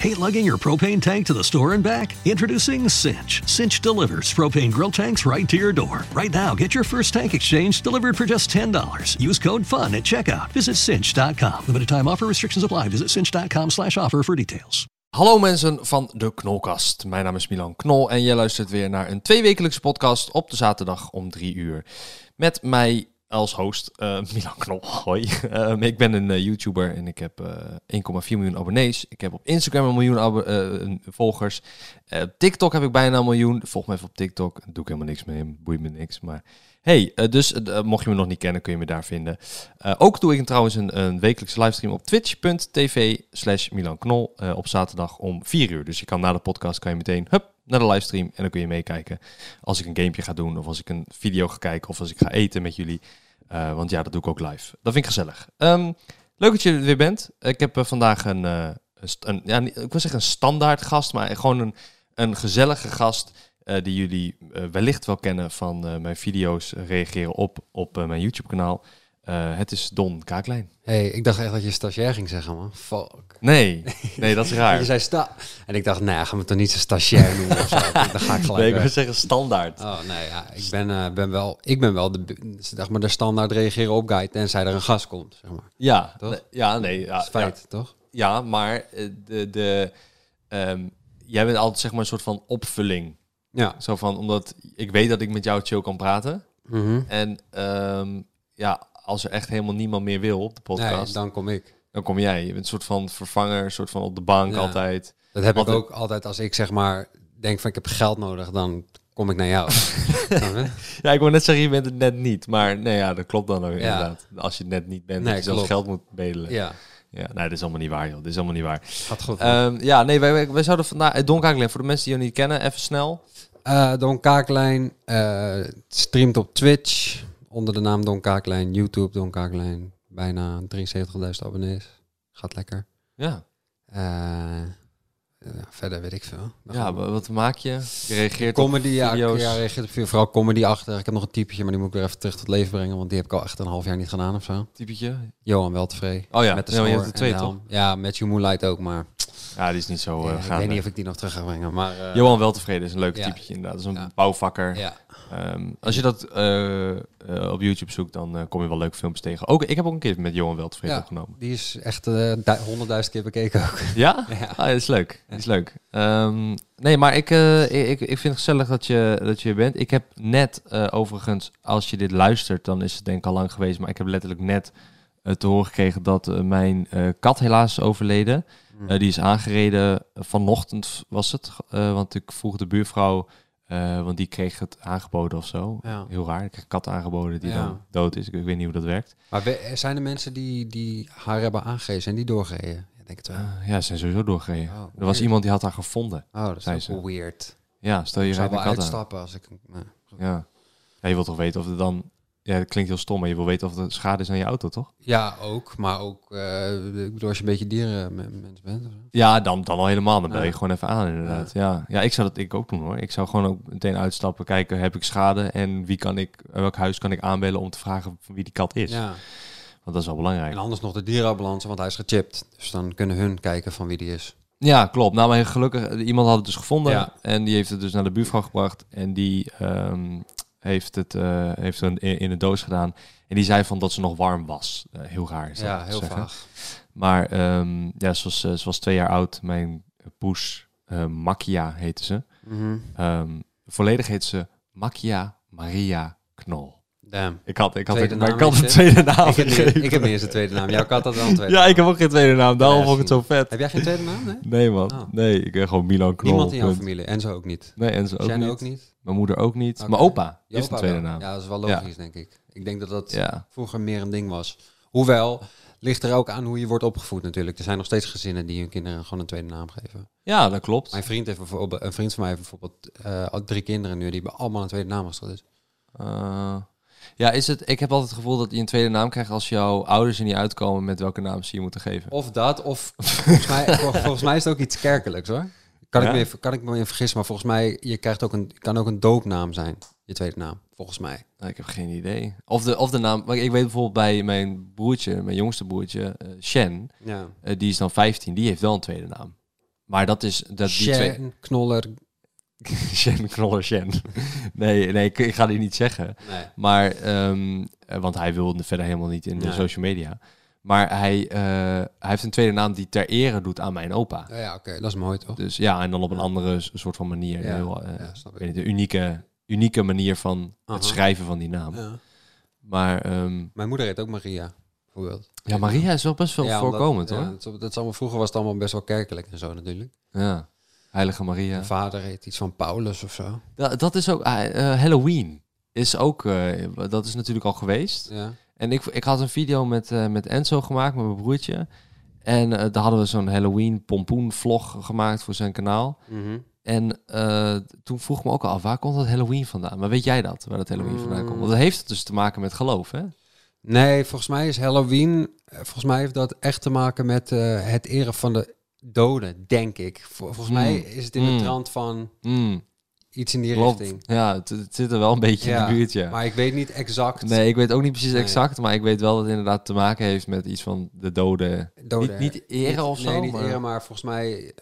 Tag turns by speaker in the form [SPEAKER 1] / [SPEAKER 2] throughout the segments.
[SPEAKER 1] Hate lugging your propane tank to the store and back? Introducing Cinch. Cinch delivers propane grill tanks right to your door. Right now, get your first tank exchange delivered for just $10. Use code FUN at checkout. Visit cinch.com. Limited time offer restrictions apply. Visit cinch.com slash offer for details.
[SPEAKER 2] Hallo mensen van de Knolkast. Mijn naam is Milan Knol en jij luistert weer naar een tweewekelijkse podcast op de zaterdag om drie uur. Met mij als host eh, Milan Knol. Hoi. Ehm, ik ben een eh, YouTuber en ik heb eh, 1,4 miljoen abonnees. Ik heb op Instagram een miljoen abo- eh, volgers. Eh, op TikTok heb ik bijna een miljoen. Volg me even op TikTok. Doe ik helemaal niks mee. Boeit me niks. Maar hey, eh, dus eh, mocht je me nog niet kennen, kun je me daar vinden. Eh, ook doe ik trouwens een, een wekelijkse livestream op twitch.tv slash Milan Knol eh, op zaterdag om 4 uur. Dus je kan na de podcast kan je meteen hup, naar de livestream en dan kun je meekijken als ik een gamepje ga doen of als ik een video ga kijken of als ik ga eten met jullie. Eh, want ja, dat doe ik ook live. Dat vind ik gezellig. Ehm, leuk dat je er weer bent. Ik heb eh, vandaag een, eh, een, st- een- ja, niet- ik wil zeggen een standaard gast, maar gewoon een, een gezellige gast eh, die jullie eh, wellicht wel kennen van eh, mijn video's eh, reageren op op eh, mijn YouTube kanaal. Eh, het is Don Kaaklijn.
[SPEAKER 3] hey, ik dacht echt dat je stagiair ging zeggen, man. Fuck.
[SPEAKER 2] Nee, nee, dat is
[SPEAKER 3] Je
[SPEAKER 2] raar.
[SPEAKER 3] zei sta. En ik dacht, nou, gaan we toch niet zo stagiair noemen of zo. Dan ga ik gelijk
[SPEAKER 2] Nee, ik
[SPEAKER 3] weg.
[SPEAKER 2] wil zeggen standaard.
[SPEAKER 3] Oh, nee, ja. Ik ben, eh, ben wel, ik ben wel de, bu- zeg maar, de standaard reageren op guide, tenzij er een gast komt, zeg maar.
[SPEAKER 2] Ja,
[SPEAKER 3] Toch?
[SPEAKER 2] nee, ja, nee, ja,
[SPEAKER 3] Dat is feit, toch?
[SPEAKER 2] Ja, maar eh, de, de, ehm, jij bent altijd zeg maar een soort van opvulling.
[SPEAKER 3] Ja.
[SPEAKER 2] Zo van, omdat ik weet dat ik met jou chill kan praten. En ehm, ja, als er echt helemaal niemand meer wil op de podcast,
[SPEAKER 3] Nee,
[SPEAKER 2] dan...
[SPEAKER 3] dan kom ik.
[SPEAKER 2] kom jij. Je bent een soort van vervanger, een soort van op de bank
[SPEAKER 3] Ja.
[SPEAKER 2] altijd.
[SPEAKER 3] Dat heb
[SPEAKER 2] Altijd-
[SPEAKER 3] ik ook altijd als ik zeg maar denk van ik heb geld nodig, dan kom ik naar jou. Snap je?
[SPEAKER 2] Ja, ik wil net zeggen, je bent het net niet. Maar nee, ja, dat klopt dan ook inderdaad. Als je het net niet bent,
[SPEAKER 3] Nee,
[SPEAKER 2] dat je zelfs
[SPEAKER 3] klopt.
[SPEAKER 2] geld moet bedelen.
[SPEAKER 3] ja,
[SPEAKER 2] Ja, nee, dat is allemaal niet waar, joh. Dat is allemaal niet waar.
[SPEAKER 3] gaat goed. man.
[SPEAKER 2] Ehm, ja, nee, wij, wij, wij zouden vandaag... eh, Don Kakelin, voor de mensen die je niet kennen, even snel.
[SPEAKER 3] Eh, Don Kaaklijn eh, streamt op Twitch onder de naam Don Kaaklijn, YouTube Don Kaaklijn, bijna 73.000 abonnees. Gaat lekker.
[SPEAKER 2] Ja,
[SPEAKER 3] Eh, ja, verder weet ik veel. Dan
[SPEAKER 2] ja wa- wat maak je? Je reageert op
[SPEAKER 3] comedy, ja, ik-
[SPEAKER 2] video's.
[SPEAKER 3] ja, reageert op video, vooral comedy achter. Ik heb nog een typetje, maar die moet ik weer even terug tot leven brengen, want die heb ik al echt een half jaar niet gedaan of zo.
[SPEAKER 2] typetje.
[SPEAKER 3] Johan Weltevree.
[SPEAKER 2] Oh ja,
[SPEAKER 3] met de
[SPEAKER 2] ja, maar je
[SPEAKER 3] snor
[SPEAKER 2] hebt er
[SPEAKER 3] en
[SPEAKER 2] twee, Oh,
[SPEAKER 3] de helm. Ja, met You Moonlight ook, maar
[SPEAKER 2] Ja, die is niet zo
[SPEAKER 3] ja,
[SPEAKER 2] eh,
[SPEAKER 3] ik
[SPEAKER 2] gaande.
[SPEAKER 3] weet niet of ik die nog terug ga brengen. Maar eh,
[SPEAKER 2] Johan Weltevreden is een leuk
[SPEAKER 3] Ja.
[SPEAKER 2] typetje inderdaad. Dat is een
[SPEAKER 3] Ja.
[SPEAKER 2] bouwvakker.
[SPEAKER 3] ja,
[SPEAKER 2] Ehm, als je dat eh, eh, op YouTube zoekt, dan eh, kom je wel leuke filmpjes tegen. Ook, ik heb ook een keer met Johan Weltevreden
[SPEAKER 3] Ja.
[SPEAKER 2] opgenomen.
[SPEAKER 3] die is echt eh, honderdduizend keer bekeken ook.
[SPEAKER 2] Ja?
[SPEAKER 3] Ja.
[SPEAKER 2] Ah, dat is leuk. Dat is leuk. Ehm, nee, maar ik, eh, ik, ik vind het gezellig dat je, dat je er bent. Ik heb net, eh, overigens, als je dit luistert, dan is het denk ik al lang geweest. Maar ik heb letterlijk net eh, te horen gekregen dat eh, mijn eh, kat helaas is overleden.
[SPEAKER 3] Hmm.
[SPEAKER 2] Eh, die is aangereden eh, vanochtend was het. eh, want ik vroeg de buurvrouw, eh, want die kreeg het aangeboden of zo.
[SPEAKER 3] Ja.
[SPEAKER 2] Heel raar. Ik kreeg een kat aangeboden die
[SPEAKER 3] Ja.
[SPEAKER 2] dan dood is. Ik, ik weet niet hoe dat werkt.
[SPEAKER 3] Maar we- er zijn er mensen die, die haar hebben aangegeven en die doorgereden? Ik denk het wel.
[SPEAKER 2] Eh, ja, ze zijn sowieso doorgereden.
[SPEAKER 3] Oh,
[SPEAKER 2] er was
[SPEAKER 3] weird.
[SPEAKER 2] iemand die had haar gevonden.
[SPEAKER 3] Oh, dat is
[SPEAKER 2] zei
[SPEAKER 3] ook
[SPEAKER 2] ze.
[SPEAKER 3] wel weird.
[SPEAKER 2] Ja, stel je
[SPEAKER 3] Ik zou
[SPEAKER 2] rijdt een
[SPEAKER 3] wel
[SPEAKER 2] kat aan.
[SPEAKER 3] uitstappen als ik... eh, nee.
[SPEAKER 2] Ja. ja. Je wilt toch weten of er dan... Ja, dat klinkt heel stom, maar je wil weten of er schade is aan je auto, toch?
[SPEAKER 3] Ja, ook. Maar ook, eh, ik bedoel, als je een beetje dierenmens bent. of zo.
[SPEAKER 2] Ja, dan, dan al helemaal. Dan bel je
[SPEAKER 3] Ja.
[SPEAKER 2] gewoon even aan, inderdaad. Ja. ja, ik zou dat ik ook doen, hoor. Ik zou gewoon ook meteen uitstappen, kijken, heb ik schade? En wie kan ik, welk huis kan ik aanbellen om te vragen van wie die kat is?
[SPEAKER 3] Ja.
[SPEAKER 2] Want dat is wel belangrijk.
[SPEAKER 3] En anders nog de dierenambulance, want hij is gechipt. Dus dan kunnen hun kijken van wie die is.
[SPEAKER 2] Ja, klopt. Nou, maar gelukkig, iemand had het dus gevonden.
[SPEAKER 3] Ja.
[SPEAKER 2] En die heeft het dus naar de buurvrouw gebracht. En die ehm, heeft het eh, heeft een, in in een doos gedaan. En die zei van dat ze nog warm was. Eh, heel raar is dat om
[SPEAKER 3] ja,
[SPEAKER 2] te
[SPEAKER 3] heel
[SPEAKER 2] zeggen.
[SPEAKER 3] vaag.
[SPEAKER 2] Maar ehm, ja, ze was, eh, ze was twee jaar oud. Mijn poes, eh Makia heette ze.
[SPEAKER 3] Mhm.
[SPEAKER 2] Ehm, volledig heet ze Makia Maria Knol.
[SPEAKER 3] Damn.
[SPEAKER 2] Ik had, ik had,
[SPEAKER 3] Tweede
[SPEAKER 2] ik, maar
[SPEAKER 3] naam
[SPEAKER 2] ik had
[SPEAKER 3] is
[SPEAKER 2] een
[SPEAKER 3] het.
[SPEAKER 2] tweede naam.
[SPEAKER 3] Ik heb, niet,
[SPEAKER 2] gegeven.
[SPEAKER 3] ik heb niet eens een tweede naam. Jouw kat had wel een tweede
[SPEAKER 2] Ah, ja,
[SPEAKER 3] naam.
[SPEAKER 2] ik heb ook geen tweede naam. Daarom
[SPEAKER 3] Ja,
[SPEAKER 2] vond ik het zo vet.
[SPEAKER 3] Heb jij geen tweede naam? Nee?
[SPEAKER 2] Nee, man.
[SPEAKER 3] Oh.
[SPEAKER 2] Nee, ik ben gewoon Milan Knol.
[SPEAKER 3] Niemand in jouw
[SPEAKER 2] Punt.
[SPEAKER 3] familie. Enzo ook niet.
[SPEAKER 2] Nee, en ze ook
[SPEAKER 3] Jen
[SPEAKER 2] niet.
[SPEAKER 3] ook niet.
[SPEAKER 2] Mijn moeder ook niet.
[SPEAKER 3] Oké.
[SPEAKER 2] Mijn opa
[SPEAKER 3] Je
[SPEAKER 2] is de
[SPEAKER 3] opa
[SPEAKER 2] tweede
[SPEAKER 3] wel.
[SPEAKER 2] naam.
[SPEAKER 3] Ja,
[SPEAKER 2] Ja.
[SPEAKER 3] dat is wel
[SPEAKER 2] Ja.
[SPEAKER 3] logisch, denk ik. Ik denk dat dat
[SPEAKER 2] Ja.
[SPEAKER 3] vroeger meer een ding was. Hoewel, ligt er ook aan hoe je wordt opgevoed natuurlijk. Er zijn nog steeds gezinnen die hun kinderen gewoon een tweede naam geven.
[SPEAKER 2] dat klopt.
[SPEAKER 3] Mijn vriend, heeft bijvoorbeeld, een vriend van mij heeft bijvoorbeeld eh, al drie kinderen nu. Die hebben allemaal een tweede naam als het goed is.
[SPEAKER 2] Eh, ja, is het, ik heb altijd het gevoel dat je een tweede naam krijgt als jouw ouders er niet uitkomen met welke naam ze je moeten geven.
[SPEAKER 3] Of dat, of volgens, mij, vol- volgens mij is het ook iets kerkelijks hoor. Kan,
[SPEAKER 2] Ja?
[SPEAKER 3] ik me even, kan ik me even vergissen, maar volgens mij je krijgt ook een, kan ook een doopnaam zijn. Je tweede naam, volgens mij.
[SPEAKER 2] Nou, ik heb geen idee. Of de, of de naam. Maar ik weet bijvoorbeeld bij mijn broertje, mijn jongste broertje, eh, Shen,
[SPEAKER 3] Ja.
[SPEAKER 2] eh, die is dan 15, die heeft wel een tweede naam. Maar dat is... Dat die twee,
[SPEAKER 3] Shen, Knoller.
[SPEAKER 2] Shen, knoller, Shen. Nee, nee, ik, ik ga die niet zeggen.
[SPEAKER 3] Nee.
[SPEAKER 2] Maar, ehm, eh, want hij wilde verder helemaal niet in de
[SPEAKER 3] Nee.
[SPEAKER 2] social media. Maar hij, eh, hij heeft een tweede naam die ter ere doet aan mijn opa.
[SPEAKER 3] Oh Ja, oké, dat is mooi toch?
[SPEAKER 2] Dus ja, en dan op een andere s- soort van manier.
[SPEAKER 3] Ja,
[SPEAKER 2] Heel, eh,
[SPEAKER 3] ja, snap
[SPEAKER 2] ik
[SPEAKER 3] ik.
[SPEAKER 2] weet niet, een unieke, unieke manier van
[SPEAKER 3] Aha.
[SPEAKER 2] het schrijven van die naam.
[SPEAKER 3] Ja.
[SPEAKER 2] Maar ehm,
[SPEAKER 3] Mijn moeder heet ook Maria, bijvoorbeeld.
[SPEAKER 2] ja, Maria is wel best wel
[SPEAKER 3] Ja, omdat-
[SPEAKER 2] voorkomend
[SPEAKER 3] ja,
[SPEAKER 2] hoor.
[SPEAKER 3] dat, is- dat is allemaal, vroeger was het allemaal best wel kerkelijk en zo natuurlijk.
[SPEAKER 2] Ja. Heilige Maria.
[SPEAKER 3] Mijn vader heet iets van Paulus of zo.
[SPEAKER 2] Da- dat is ook... ah, eh, Halloween is ook... eh, dat is natuurlijk al geweest.
[SPEAKER 3] Ja.
[SPEAKER 2] En ik, ik had een video met, eh, met Enzo gemaakt, met mijn broertje. En eh, daar hadden we zo'n Halloween pompoen vlog gemaakt voor zijn kanaal. En eh, toen vroeg ik me ook al af, waar komt dat Halloween vandaan? Maar weet jij dat, waar dat Halloween vandaan komt? Want dat heeft dus te maken met geloof, hè?
[SPEAKER 3] Nee, volgens mij is Halloween, eh, volgens mij heeft dat echt te maken met eh, het eren van de doden, denk ik. Vol- volgens
[SPEAKER 2] Mm.
[SPEAKER 3] mij is het in
[SPEAKER 2] Mm.
[SPEAKER 3] de trant van
[SPEAKER 2] Mm,
[SPEAKER 3] iets in die
[SPEAKER 2] klopt.
[SPEAKER 3] richting.
[SPEAKER 2] Ja, het, het zit er wel een beetje in de buurt, ja.
[SPEAKER 3] Maar ik weet niet exact.
[SPEAKER 2] Nee, ik weet ook niet precies
[SPEAKER 3] Nee.
[SPEAKER 2] exact, maar ik weet wel dat het inderdaad te maken heeft met iets van de doden.
[SPEAKER 3] doden.
[SPEAKER 2] Niet, niet eren of zo?
[SPEAKER 3] Nee, niet
[SPEAKER 2] maar-
[SPEAKER 3] eren, maar volgens mij...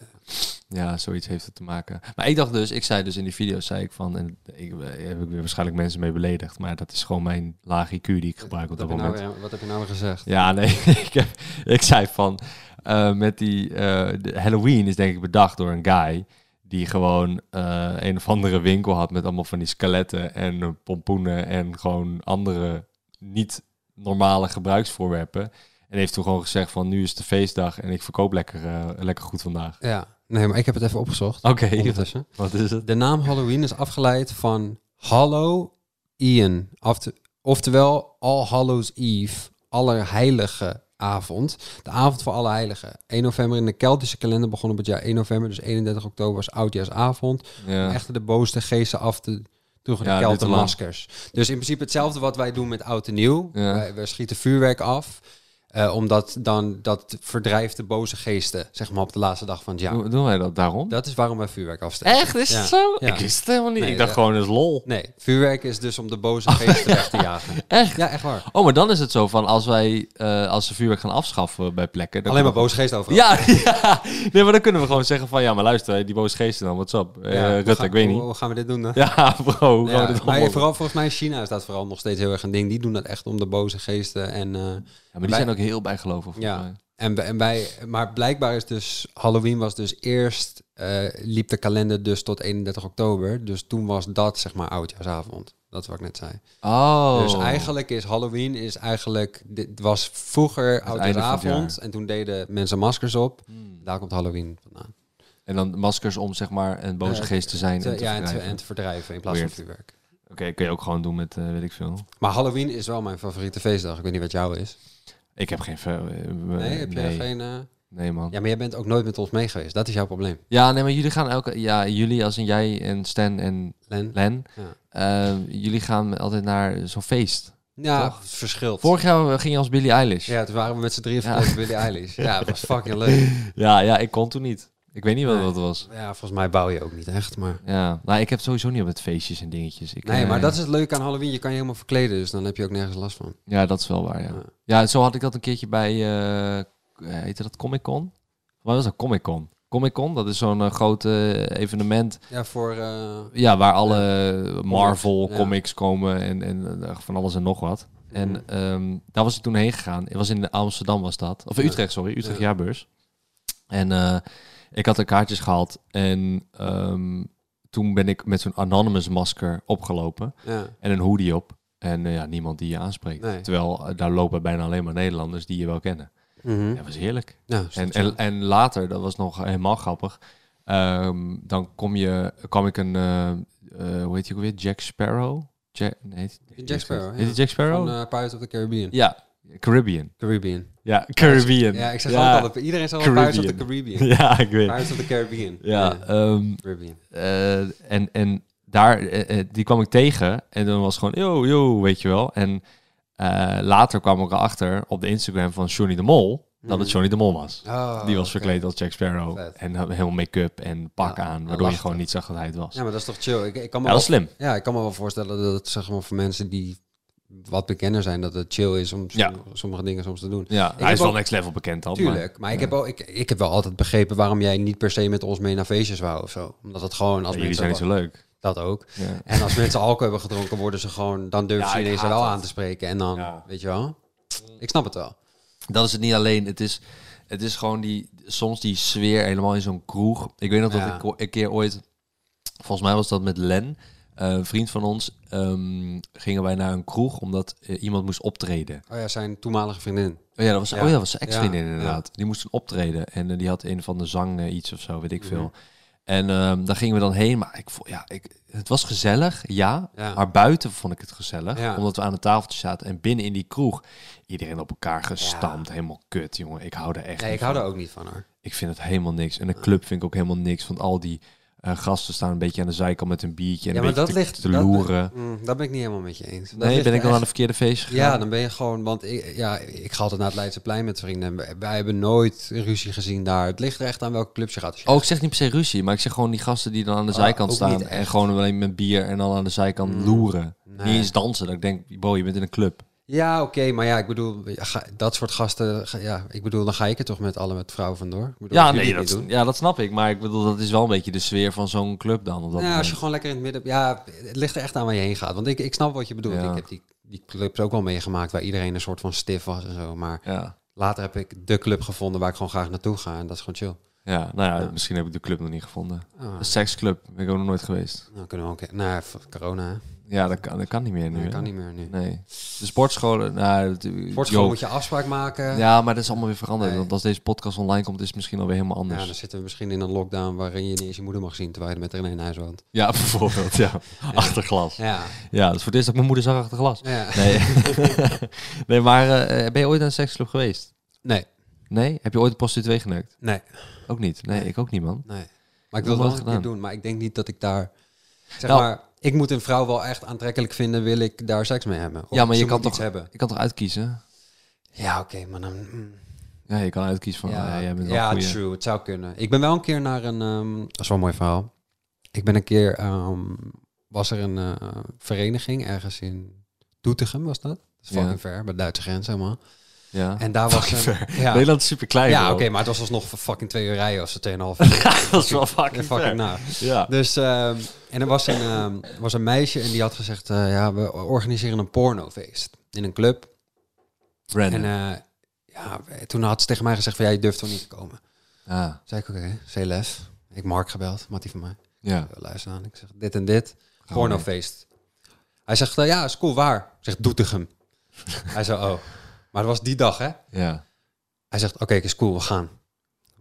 [SPEAKER 2] Ja, zoiets heeft het te maken. Maar ik dacht dus, ik zei dus in die video, zei ik van, en ik, eh, heb ik weer waarschijnlijk mensen mee beledigd, maar dat is gewoon mijn laag IQ die ik gebruik op
[SPEAKER 3] Wat
[SPEAKER 2] dat
[SPEAKER 3] heb, je
[SPEAKER 2] moment.
[SPEAKER 3] nou, weer- wat heb je nou weer gezegd?
[SPEAKER 2] Ja, nee, ik, heb, ik zei van, eh, met die eh, de Halloween is denk ik bedacht door een guy die gewoon eh, een of andere winkel had met allemaal van die skeletten en eh, pompoenen en gewoon andere niet normale gebruiksvoorwerpen. En heeft toen gewoon gezegd van, nu is de feestdag en ik verkoop lekker, eh, lekker goed vandaag.
[SPEAKER 3] Ja, nee, maar ik heb het even opgezocht.
[SPEAKER 2] Oké,
[SPEAKER 3] Ondertussen.
[SPEAKER 2] wat is het?
[SPEAKER 3] De naam Halloween is afgeleid van Hallow Ian. Afte- oftewel All Hallows Eve, Allerheilige avond. De avond voor alle heiligen. 1 november in de Keltische kalender begon op het jaar 1 november, dus 31 oktober was oudjaarsavond.
[SPEAKER 2] Ja.
[SPEAKER 3] Echt de boosste geesten af te droegen de
[SPEAKER 2] Ja, dit te lang.
[SPEAKER 3] Keltenmaskers. Dus in principe hetzelfde wat wij doen met oud en nieuw.
[SPEAKER 2] Ja.
[SPEAKER 3] Wij, wij schieten vuurwerk af. eh, omdat dan dat verdrijft de boze geesten, zeg maar op de laatste dag van het jaar.
[SPEAKER 2] Doen, doen wij dat daarom?
[SPEAKER 3] Dat is waarom wij vuurwerk afsteken.
[SPEAKER 2] Echt? Is
[SPEAKER 3] Ja.
[SPEAKER 2] het zo?
[SPEAKER 3] Ja.
[SPEAKER 2] Ik wist het helemaal niet.
[SPEAKER 3] Nee,
[SPEAKER 2] ik dacht
[SPEAKER 3] ja.
[SPEAKER 2] gewoon, dat is lol.
[SPEAKER 3] Nee, vuurwerk is dus om de boze geesten weg te jagen.
[SPEAKER 2] Oh, Echt?
[SPEAKER 3] Ja, echt waar.
[SPEAKER 2] Oh, maar dan is het zo van, als wij eh, als ze vuurwerk gaan afschaffen bij plekken... dan
[SPEAKER 3] Alleen maar
[SPEAKER 2] kunnen
[SPEAKER 3] boze geesten overal.
[SPEAKER 2] Ja, ja, nee, maar dan kunnen we gewoon zeggen van, ja, maar luister, die boze geesten dan, what's up? Eh,
[SPEAKER 3] Ja, hoe
[SPEAKER 2] Rutte,
[SPEAKER 3] ga-
[SPEAKER 2] ik weet
[SPEAKER 3] hoe-
[SPEAKER 2] niet.
[SPEAKER 3] Hoe gaan we dit doen dan?
[SPEAKER 2] Ja, bro, hoe gaan
[SPEAKER 3] Ja,
[SPEAKER 2] we dit
[SPEAKER 3] maar
[SPEAKER 2] allemaal-
[SPEAKER 3] vooral volgens mij in China is dat vooral nog steeds heel erg een ding. Die doen dat echt om de boze geesten. En, eh,
[SPEAKER 2] Ja, maar die
[SPEAKER 3] wij-
[SPEAKER 2] zijn ook heel bijgelovig, volgens
[SPEAKER 3] ja.
[SPEAKER 2] mij.
[SPEAKER 3] En, we- en wij, maar blijkbaar is dus Halloween was dus eerst eh, liep de kalender dus tot 31 oktober. Dus toen was dat zeg maar oudjaarsavond. Dat is wat ik net zei.
[SPEAKER 2] Oh.
[SPEAKER 3] Dus eigenlijk is Halloween is eigenlijk dit was vroeger
[SPEAKER 2] van het
[SPEAKER 3] oudjaarsavond
[SPEAKER 2] jaar. Hmm.
[SPEAKER 3] en toen deden mensen maskers op. Daar komt Halloween vandaan.
[SPEAKER 2] En dan maskers om, zeg maar, een boze
[SPEAKER 3] Eh,
[SPEAKER 2] geest te zijn.
[SPEAKER 3] Te-
[SPEAKER 2] en te
[SPEAKER 3] ja, en te,
[SPEAKER 2] verdrijven.
[SPEAKER 3] en te verdrijven in plaats
[SPEAKER 2] Weird.
[SPEAKER 3] van vuurwerk.
[SPEAKER 2] Oké, kun je ook gewoon doen met, eh, weet ik veel.
[SPEAKER 3] Maar Halloween is wel mijn favoriete feestdag. Ik weet niet wat jou is.
[SPEAKER 2] Ik heb geen... ver- eh,
[SPEAKER 3] Nee, heb jij
[SPEAKER 2] nee.
[SPEAKER 3] geen... eh,
[SPEAKER 2] Nee, man.
[SPEAKER 3] Ja, maar jij bent ook nooit met ons mee geweest. Dat is jouw probleem.
[SPEAKER 2] Ja, nee, maar jullie gaan elke... Ja, jullie als in jij en Stan en
[SPEAKER 3] Len?
[SPEAKER 2] Len.
[SPEAKER 3] Ja,
[SPEAKER 2] eh, jullie gaan altijd naar zo'n feest.
[SPEAKER 3] ja
[SPEAKER 2] Toch?
[SPEAKER 3] het verschilt.
[SPEAKER 2] Vorig jaar eh, ging je als Billie Eilish.
[SPEAKER 3] Ja, toen waren we met z'n drieën
[SPEAKER 2] Ja.
[SPEAKER 3] verkleed als Billie Eilish. Ja, dat was fucking leuk.
[SPEAKER 2] ja, ja, ik kon toen niet. Ik weet niet wat
[SPEAKER 3] Nee.
[SPEAKER 2] dat was.
[SPEAKER 3] Ja, volgens mij bouw je ook niet echt, maar...
[SPEAKER 2] Ja, nou, ik heb sowieso niet op het feestjes en dingetjes. Ik,
[SPEAKER 3] Nee,
[SPEAKER 2] eh,
[SPEAKER 3] maar dat is het leuke aan Halloween. Je kan je helemaal verkleden, dus dan heb je ook nergens last van.
[SPEAKER 2] Ja, dat is wel waar, ja.
[SPEAKER 3] Ja.
[SPEAKER 2] Ja, zo had ik dat een keertje bij... eh heette dat Comic-Con? Wat was dat? Comic-Con. Comic-Con, dat is zo'n eh, groot eh, evenement...
[SPEAKER 3] Ja, voor... eh,
[SPEAKER 2] Ja, waar alle Marvel
[SPEAKER 3] Ja. Mhm.
[SPEAKER 2] comics komen en, en eh, van alles en nog wat. En ehm, daar was ik toen heen gegaan. Het was in Amsterdam was dat. Of Utrecht, sorry. Utrecht
[SPEAKER 3] Ja.
[SPEAKER 2] Jaarbeurs. En eh, ik had de kaartjes gehaald. En ehm, toen ben ik met zo'n anonymous masker opgelopen.
[SPEAKER 3] ja.
[SPEAKER 2] En een hoodie op. En eh, ja, niemand die je aanspreekt.
[SPEAKER 3] Nee.
[SPEAKER 2] Terwijl eh, daar lopen bijna alleen maar Nederlanders die je wel kennen.
[SPEAKER 3] Mhm.
[SPEAKER 2] Dat was heerlijk.
[SPEAKER 3] Ja, is
[SPEAKER 2] En,
[SPEAKER 3] dat
[SPEAKER 2] en,
[SPEAKER 3] zo?
[SPEAKER 2] en later, dat was nog helemaal grappig. ehm, dan kom je, kwam ik een, eh, eh, hoe heet je ook weer? Jack Sparrow? Jack, nee, heet-
[SPEAKER 3] Jack Sparrow,
[SPEAKER 2] Heet
[SPEAKER 3] ja.
[SPEAKER 2] hij Jack Sparrow?
[SPEAKER 3] Van eh, Pirates of the Caribbean.
[SPEAKER 2] ja, Caribbean.
[SPEAKER 3] Caribbean.
[SPEAKER 2] Ja, Caribbean.
[SPEAKER 3] Ja, ik zeg
[SPEAKER 2] ja.
[SPEAKER 3] altijd altijd... Iedereen zegt altijd Pirates of the Caribbean.
[SPEAKER 2] Ja, ik weet.
[SPEAKER 3] Pirates of the Caribbean.
[SPEAKER 2] Ja, ehm,
[SPEAKER 3] Caribbean.
[SPEAKER 2] eh, en, en daar, eh, eh, die kwam ik tegen. En dan was het gewoon, yo, yo, weet je wel. En eh, later kwam ik erachter op de Instagram van Johnny de Mol... dat het Johnny de Mol was.
[SPEAKER 3] Mm. Oh,
[SPEAKER 2] Die was
[SPEAKER 3] oké.
[SPEAKER 2] verkleed als Jack Sparrow.
[SPEAKER 3] Vet.
[SPEAKER 2] En had helemaal make-up en pak
[SPEAKER 3] Ja,
[SPEAKER 2] aan.
[SPEAKER 3] en
[SPEAKER 2] Waardoor je
[SPEAKER 3] lachte.
[SPEAKER 2] gewoon niet zag dat hij het was.
[SPEAKER 3] Ja, maar dat is toch chill. Ik, ik kan me
[SPEAKER 2] Ja, dat is
[SPEAKER 3] wel,
[SPEAKER 2] slim.
[SPEAKER 3] ja, ik kan me wel voorstellen dat zeg maar voor mensen die wat bekender zijn dat het chill is om som-
[SPEAKER 2] Ja.
[SPEAKER 3] sommige dingen soms te doen.
[SPEAKER 2] Ja,
[SPEAKER 3] Ik
[SPEAKER 2] hij is
[SPEAKER 3] heb
[SPEAKER 2] wel
[SPEAKER 3] ook-
[SPEAKER 2] next level bekend dan.
[SPEAKER 3] Tuurlijk, maar, ik, heb wel, ik, ik heb wel altijd begrepen waarom jij niet per se met ons mee naar feestjes wou of zo. Omdat het gewoon als
[SPEAKER 2] Maar, jullie
[SPEAKER 3] mensen
[SPEAKER 2] zijn niet zo leuk.
[SPEAKER 3] dat ook.
[SPEAKER 2] Ja.
[SPEAKER 3] En als mensen alcohol hebben gedronken, worden ze gewoon, dan durven
[SPEAKER 2] Ja,
[SPEAKER 3] ze
[SPEAKER 2] ik
[SPEAKER 3] ineens
[SPEAKER 2] haat
[SPEAKER 3] wel
[SPEAKER 2] dat.
[SPEAKER 3] aan te spreken. En dan,
[SPEAKER 2] Ja.
[SPEAKER 3] weet je wel, ik snap het wel.
[SPEAKER 2] Dat is het niet alleen. Het is, het is gewoon die, soms die sfeer helemaal in zo'n kroeg. Ik weet nog
[SPEAKER 3] Ja.
[SPEAKER 2] dat ik o- een keer ooit, volgens mij was dat met Len, eh, een vriend van ons, ehm, gingen wij naar een kroeg omdat eh, iemand moest optreden.
[SPEAKER 3] Oh ja, zijn toenmalige vriendin.
[SPEAKER 2] Oh ja, dat was,
[SPEAKER 3] Ja.
[SPEAKER 2] Oh ja, dat was zijn ex-vriendin
[SPEAKER 3] Ja, ja.
[SPEAKER 2] inderdaad. Die moest een optreden en eh, die had een van de zang eh, iets of zo, weet ik
[SPEAKER 3] Mhm.
[SPEAKER 2] veel. En ehm, daar gingen we dan heen, maar ik, vo- ja, ik, het was gezellig, ja,
[SPEAKER 3] Ja.
[SPEAKER 2] Maar buiten vond ik het gezellig,
[SPEAKER 3] Ja.
[SPEAKER 2] omdat we aan een tafeltje zaten. En binnen in die kroeg, iedereen op elkaar gestampt, helemaal kut, jongen. Ik hou er echt
[SPEAKER 3] Nee,
[SPEAKER 2] niet
[SPEAKER 3] ik hou
[SPEAKER 2] van.
[SPEAKER 3] daar ook niet van haar.
[SPEAKER 2] Ik vind het helemaal niks. En een club vind ik ook helemaal niks, want al die eh, gasten staan een beetje aan de zijkant met een biertje en
[SPEAKER 3] Ja,
[SPEAKER 2] een
[SPEAKER 3] maar
[SPEAKER 2] beetje
[SPEAKER 3] dat
[SPEAKER 2] te,
[SPEAKER 3] ligt...
[SPEAKER 2] te
[SPEAKER 3] dat-
[SPEAKER 2] loeren.
[SPEAKER 3] Mm, dat ben ik niet helemaal met je eens. Dat
[SPEAKER 2] nee,
[SPEAKER 3] ligt
[SPEAKER 2] ben
[SPEAKER 3] er
[SPEAKER 2] ik dan
[SPEAKER 3] echt-
[SPEAKER 2] aan de verkeerde feest gegaan?
[SPEAKER 3] Ja, dan ben je gewoon, want ik, ja, ik ga altijd naar het Leidseplein met vrienden. en Wij, wij hebben nooit ruzie gezien daar. Het ligt er echt aan welke clubs je gaat. Als je
[SPEAKER 2] Oh, ik zeg niet per se ruzie, maar ik zeg gewoon die gasten die dan aan de zijkant
[SPEAKER 3] Ah, ook
[SPEAKER 2] staan
[SPEAKER 3] niet
[SPEAKER 2] en
[SPEAKER 3] echt. Mm,
[SPEAKER 2] gewoon alleen met bier en dan aan de zijkant loeren.
[SPEAKER 3] nee.
[SPEAKER 2] Niet eens dansen. Dat ik denk, wow, je bent in een club.
[SPEAKER 3] Ja, oké, maar ja, ik bedoel, ja, ga- dat soort gasten, ga- ja, ik bedoel, dan ga ik er toch met alle met vrouwen vandoor. Ik bedoel,
[SPEAKER 2] Ja,
[SPEAKER 3] dat jullie
[SPEAKER 2] nee,
[SPEAKER 3] het
[SPEAKER 2] dat,
[SPEAKER 3] niet doen.
[SPEAKER 2] ja, dat snap ik. Maar ik bedoel, dat is wel een beetje de sfeer van zo'n club dan. Op dat
[SPEAKER 3] Ja, als je
[SPEAKER 2] moment.
[SPEAKER 3] gewoon lekker in het midden, ja, het ligt er echt aan waar je heen gaat. Want ik, ik snap wat je bedoelt.
[SPEAKER 2] Ja.
[SPEAKER 3] Ik heb die, die clubs ook wel meegemaakt waar iedereen een soort van stif was en zo. Maar
[SPEAKER 2] Ja.
[SPEAKER 3] later heb ik de club gevonden waar ik gewoon graag naartoe ga en dat is gewoon chill.
[SPEAKER 2] ja, nou ja, misschien heb ik de club nog niet gevonden.
[SPEAKER 3] Ah.
[SPEAKER 2] Een seksclub ben ik ook nog nooit geweest.
[SPEAKER 3] Nou, kunnen we ook, nou, voor corona, hè?
[SPEAKER 2] Ja, dat kan, dat kan niet meer nu.
[SPEAKER 3] Nee,
[SPEAKER 2] hè?
[SPEAKER 3] kan niet meer nu.
[SPEAKER 2] Nee. De sportscholen, nou... dat-
[SPEAKER 3] Sportschool
[SPEAKER 2] joh.
[SPEAKER 3] moet je afspraak maken.
[SPEAKER 2] Ja, maar dat is allemaal weer veranderd.
[SPEAKER 3] Nee.
[SPEAKER 2] Want als deze podcast online komt, is het misschien alweer helemaal anders.
[SPEAKER 3] Ja, dan zitten we misschien in een lockdown waarin je niet eens je moeder mag zien terwijl je met iedereen in huis woont.
[SPEAKER 2] ja bijvoorbeeld, ja. Achter glas.
[SPEAKER 3] Ja.
[SPEAKER 2] Ja, dat is voor het eerst dat ik mijn moeder zag achter glas.
[SPEAKER 3] ja.
[SPEAKER 2] Nee, nee maar eh, ben je ooit aan een seksclub geweest?
[SPEAKER 3] Nee,
[SPEAKER 2] Nee? Heb je ooit een prostituee geneukt?
[SPEAKER 3] nee,
[SPEAKER 2] Ook niet. Nee, ik ook niet, man.
[SPEAKER 3] nee. Maar ik wil
[SPEAKER 2] Nog nooit
[SPEAKER 3] het wel een keer
[SPEAKER 2] gedaan.
[SPEAKER 3] doen, maar ik denk niet dat ik daar... Zeg
[SPEAKER 2] Nou.
[SPEAKER 3] maar, ik moet een vrouw wel echt aantrekkelijk vinden, wil ik daar seks mee hebben. Of
[SPEAKER 2] Ja, maar
[SPEAKER 3] ze
[SPEAKER 2] je kan
[SPEAKER 3] moet iets
[SPEAKER 2] toch,
[SPEAKER 3] hebben.
[SPEAKER 2] je kan toch uitkiezen?
[SPEAKER 3] Ja, oké, maar dan... mm,
[SPEAKER 2] Ja, je kan uitkiezen van, ja,
[SPEAKER 3] Oh, ja,
[SPEAKER 2] jij bent wel
[SPEAKER 3] ja
[SPEAKER 2] een goeie.
[SPEAKER 3] true, het zou kunnen. Ik ben wel een keer naar een... ehm, dat is wel een mooi verhaal. Ik ben een keer... ehm, was er een eh, vereniging ergens in Doetinchem, was dat? Dat is
[SPEAKER 2] Ja.
[SPEAKER 3] fucking ver, bij de Duitse grens helemaal.
[SPEAKER 2] Ja.
[SPEAKER 3] En daar was
[SPEAKER 2] Fucking
[SPEAKER 3] een...
[SPEAKER 2] ver.
[SPEAKER 3] Ja.
[SPEAKER 2] Nederland is super klein.
[SPEAKER 3] Ja, oké, maar het was alsnog voor fucking twee uur rijden of zo, tweeënhalf uur.
[SPEAKER 2] dat is wel fucking,
[SPEAKER 3] fucking nou.
[SPEAKER 2] Ja.
[SPEAKER 3] Dus, ehm, en er was een, ehm, was een meisje en die had gezegd, eh, ja, we organiseren een pornofeest in een club. En
[SPEAKER 2] Brandon.
[SPEAKER 3] eh, ja, toen had ze tegen mij gezegd van, ja, je durft toch niet te komen?
[SPEAKER 2] ah,
[SPEAKER 3] Zei ik, oké, c lef. Ik Mark gebeld, Mattie van mij.
[SPEAKER 2] ja.
[SPEAKER 3] Ik luister aan, ik zeg, dit en dit,
[SPEAKER 2] we
[SPEAKER 3] pornofeest. Hij zegt, eh, ja, is cool, waar? Ik zeg, Doetinchem. Hij zei, oh. Maar dat was die dag, hè?
[SPEAKER 2] Ja.
[SPEAKER 3] Hij zegt, oké, is cool, we gaan.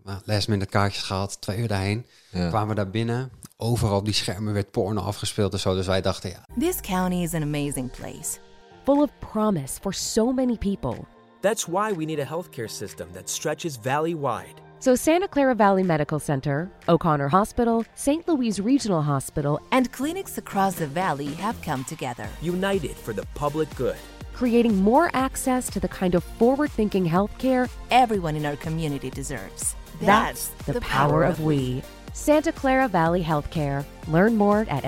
[SPEAKER 3] Nou, last minute kaartjes gehaald, twee uur daarheen.
[SPEAKER 2] Ja.
[SPEAKER 3] Kwamen we daar binnen. Overal op die schermen werd porno afgespeeld en zo. Dus wij dachten, ja,
[SPEAKER 4] This county is an amazing place.
[SPEAKER 5] full of promise for so many people.
[SPEAKER 6] That's why we need a healthcare system that stretches valley wide.
[SPEAKER 5] So, Santa Clara Valley Medical Center, O'Connor Hospital, St. Louis Regional Hospital
[SPEAKER 4] And clinics across the valley have come together.
[SPEAKER 6] United for the public good.
[SPEAKER 5] creating more access to the kind of forward thinking healthcare
[SPEAKER 4] Everyone in our community deserves.
[SPEAKER 5] that's, the, power, of we. Santa Clara Valley Healthcare. Learn more at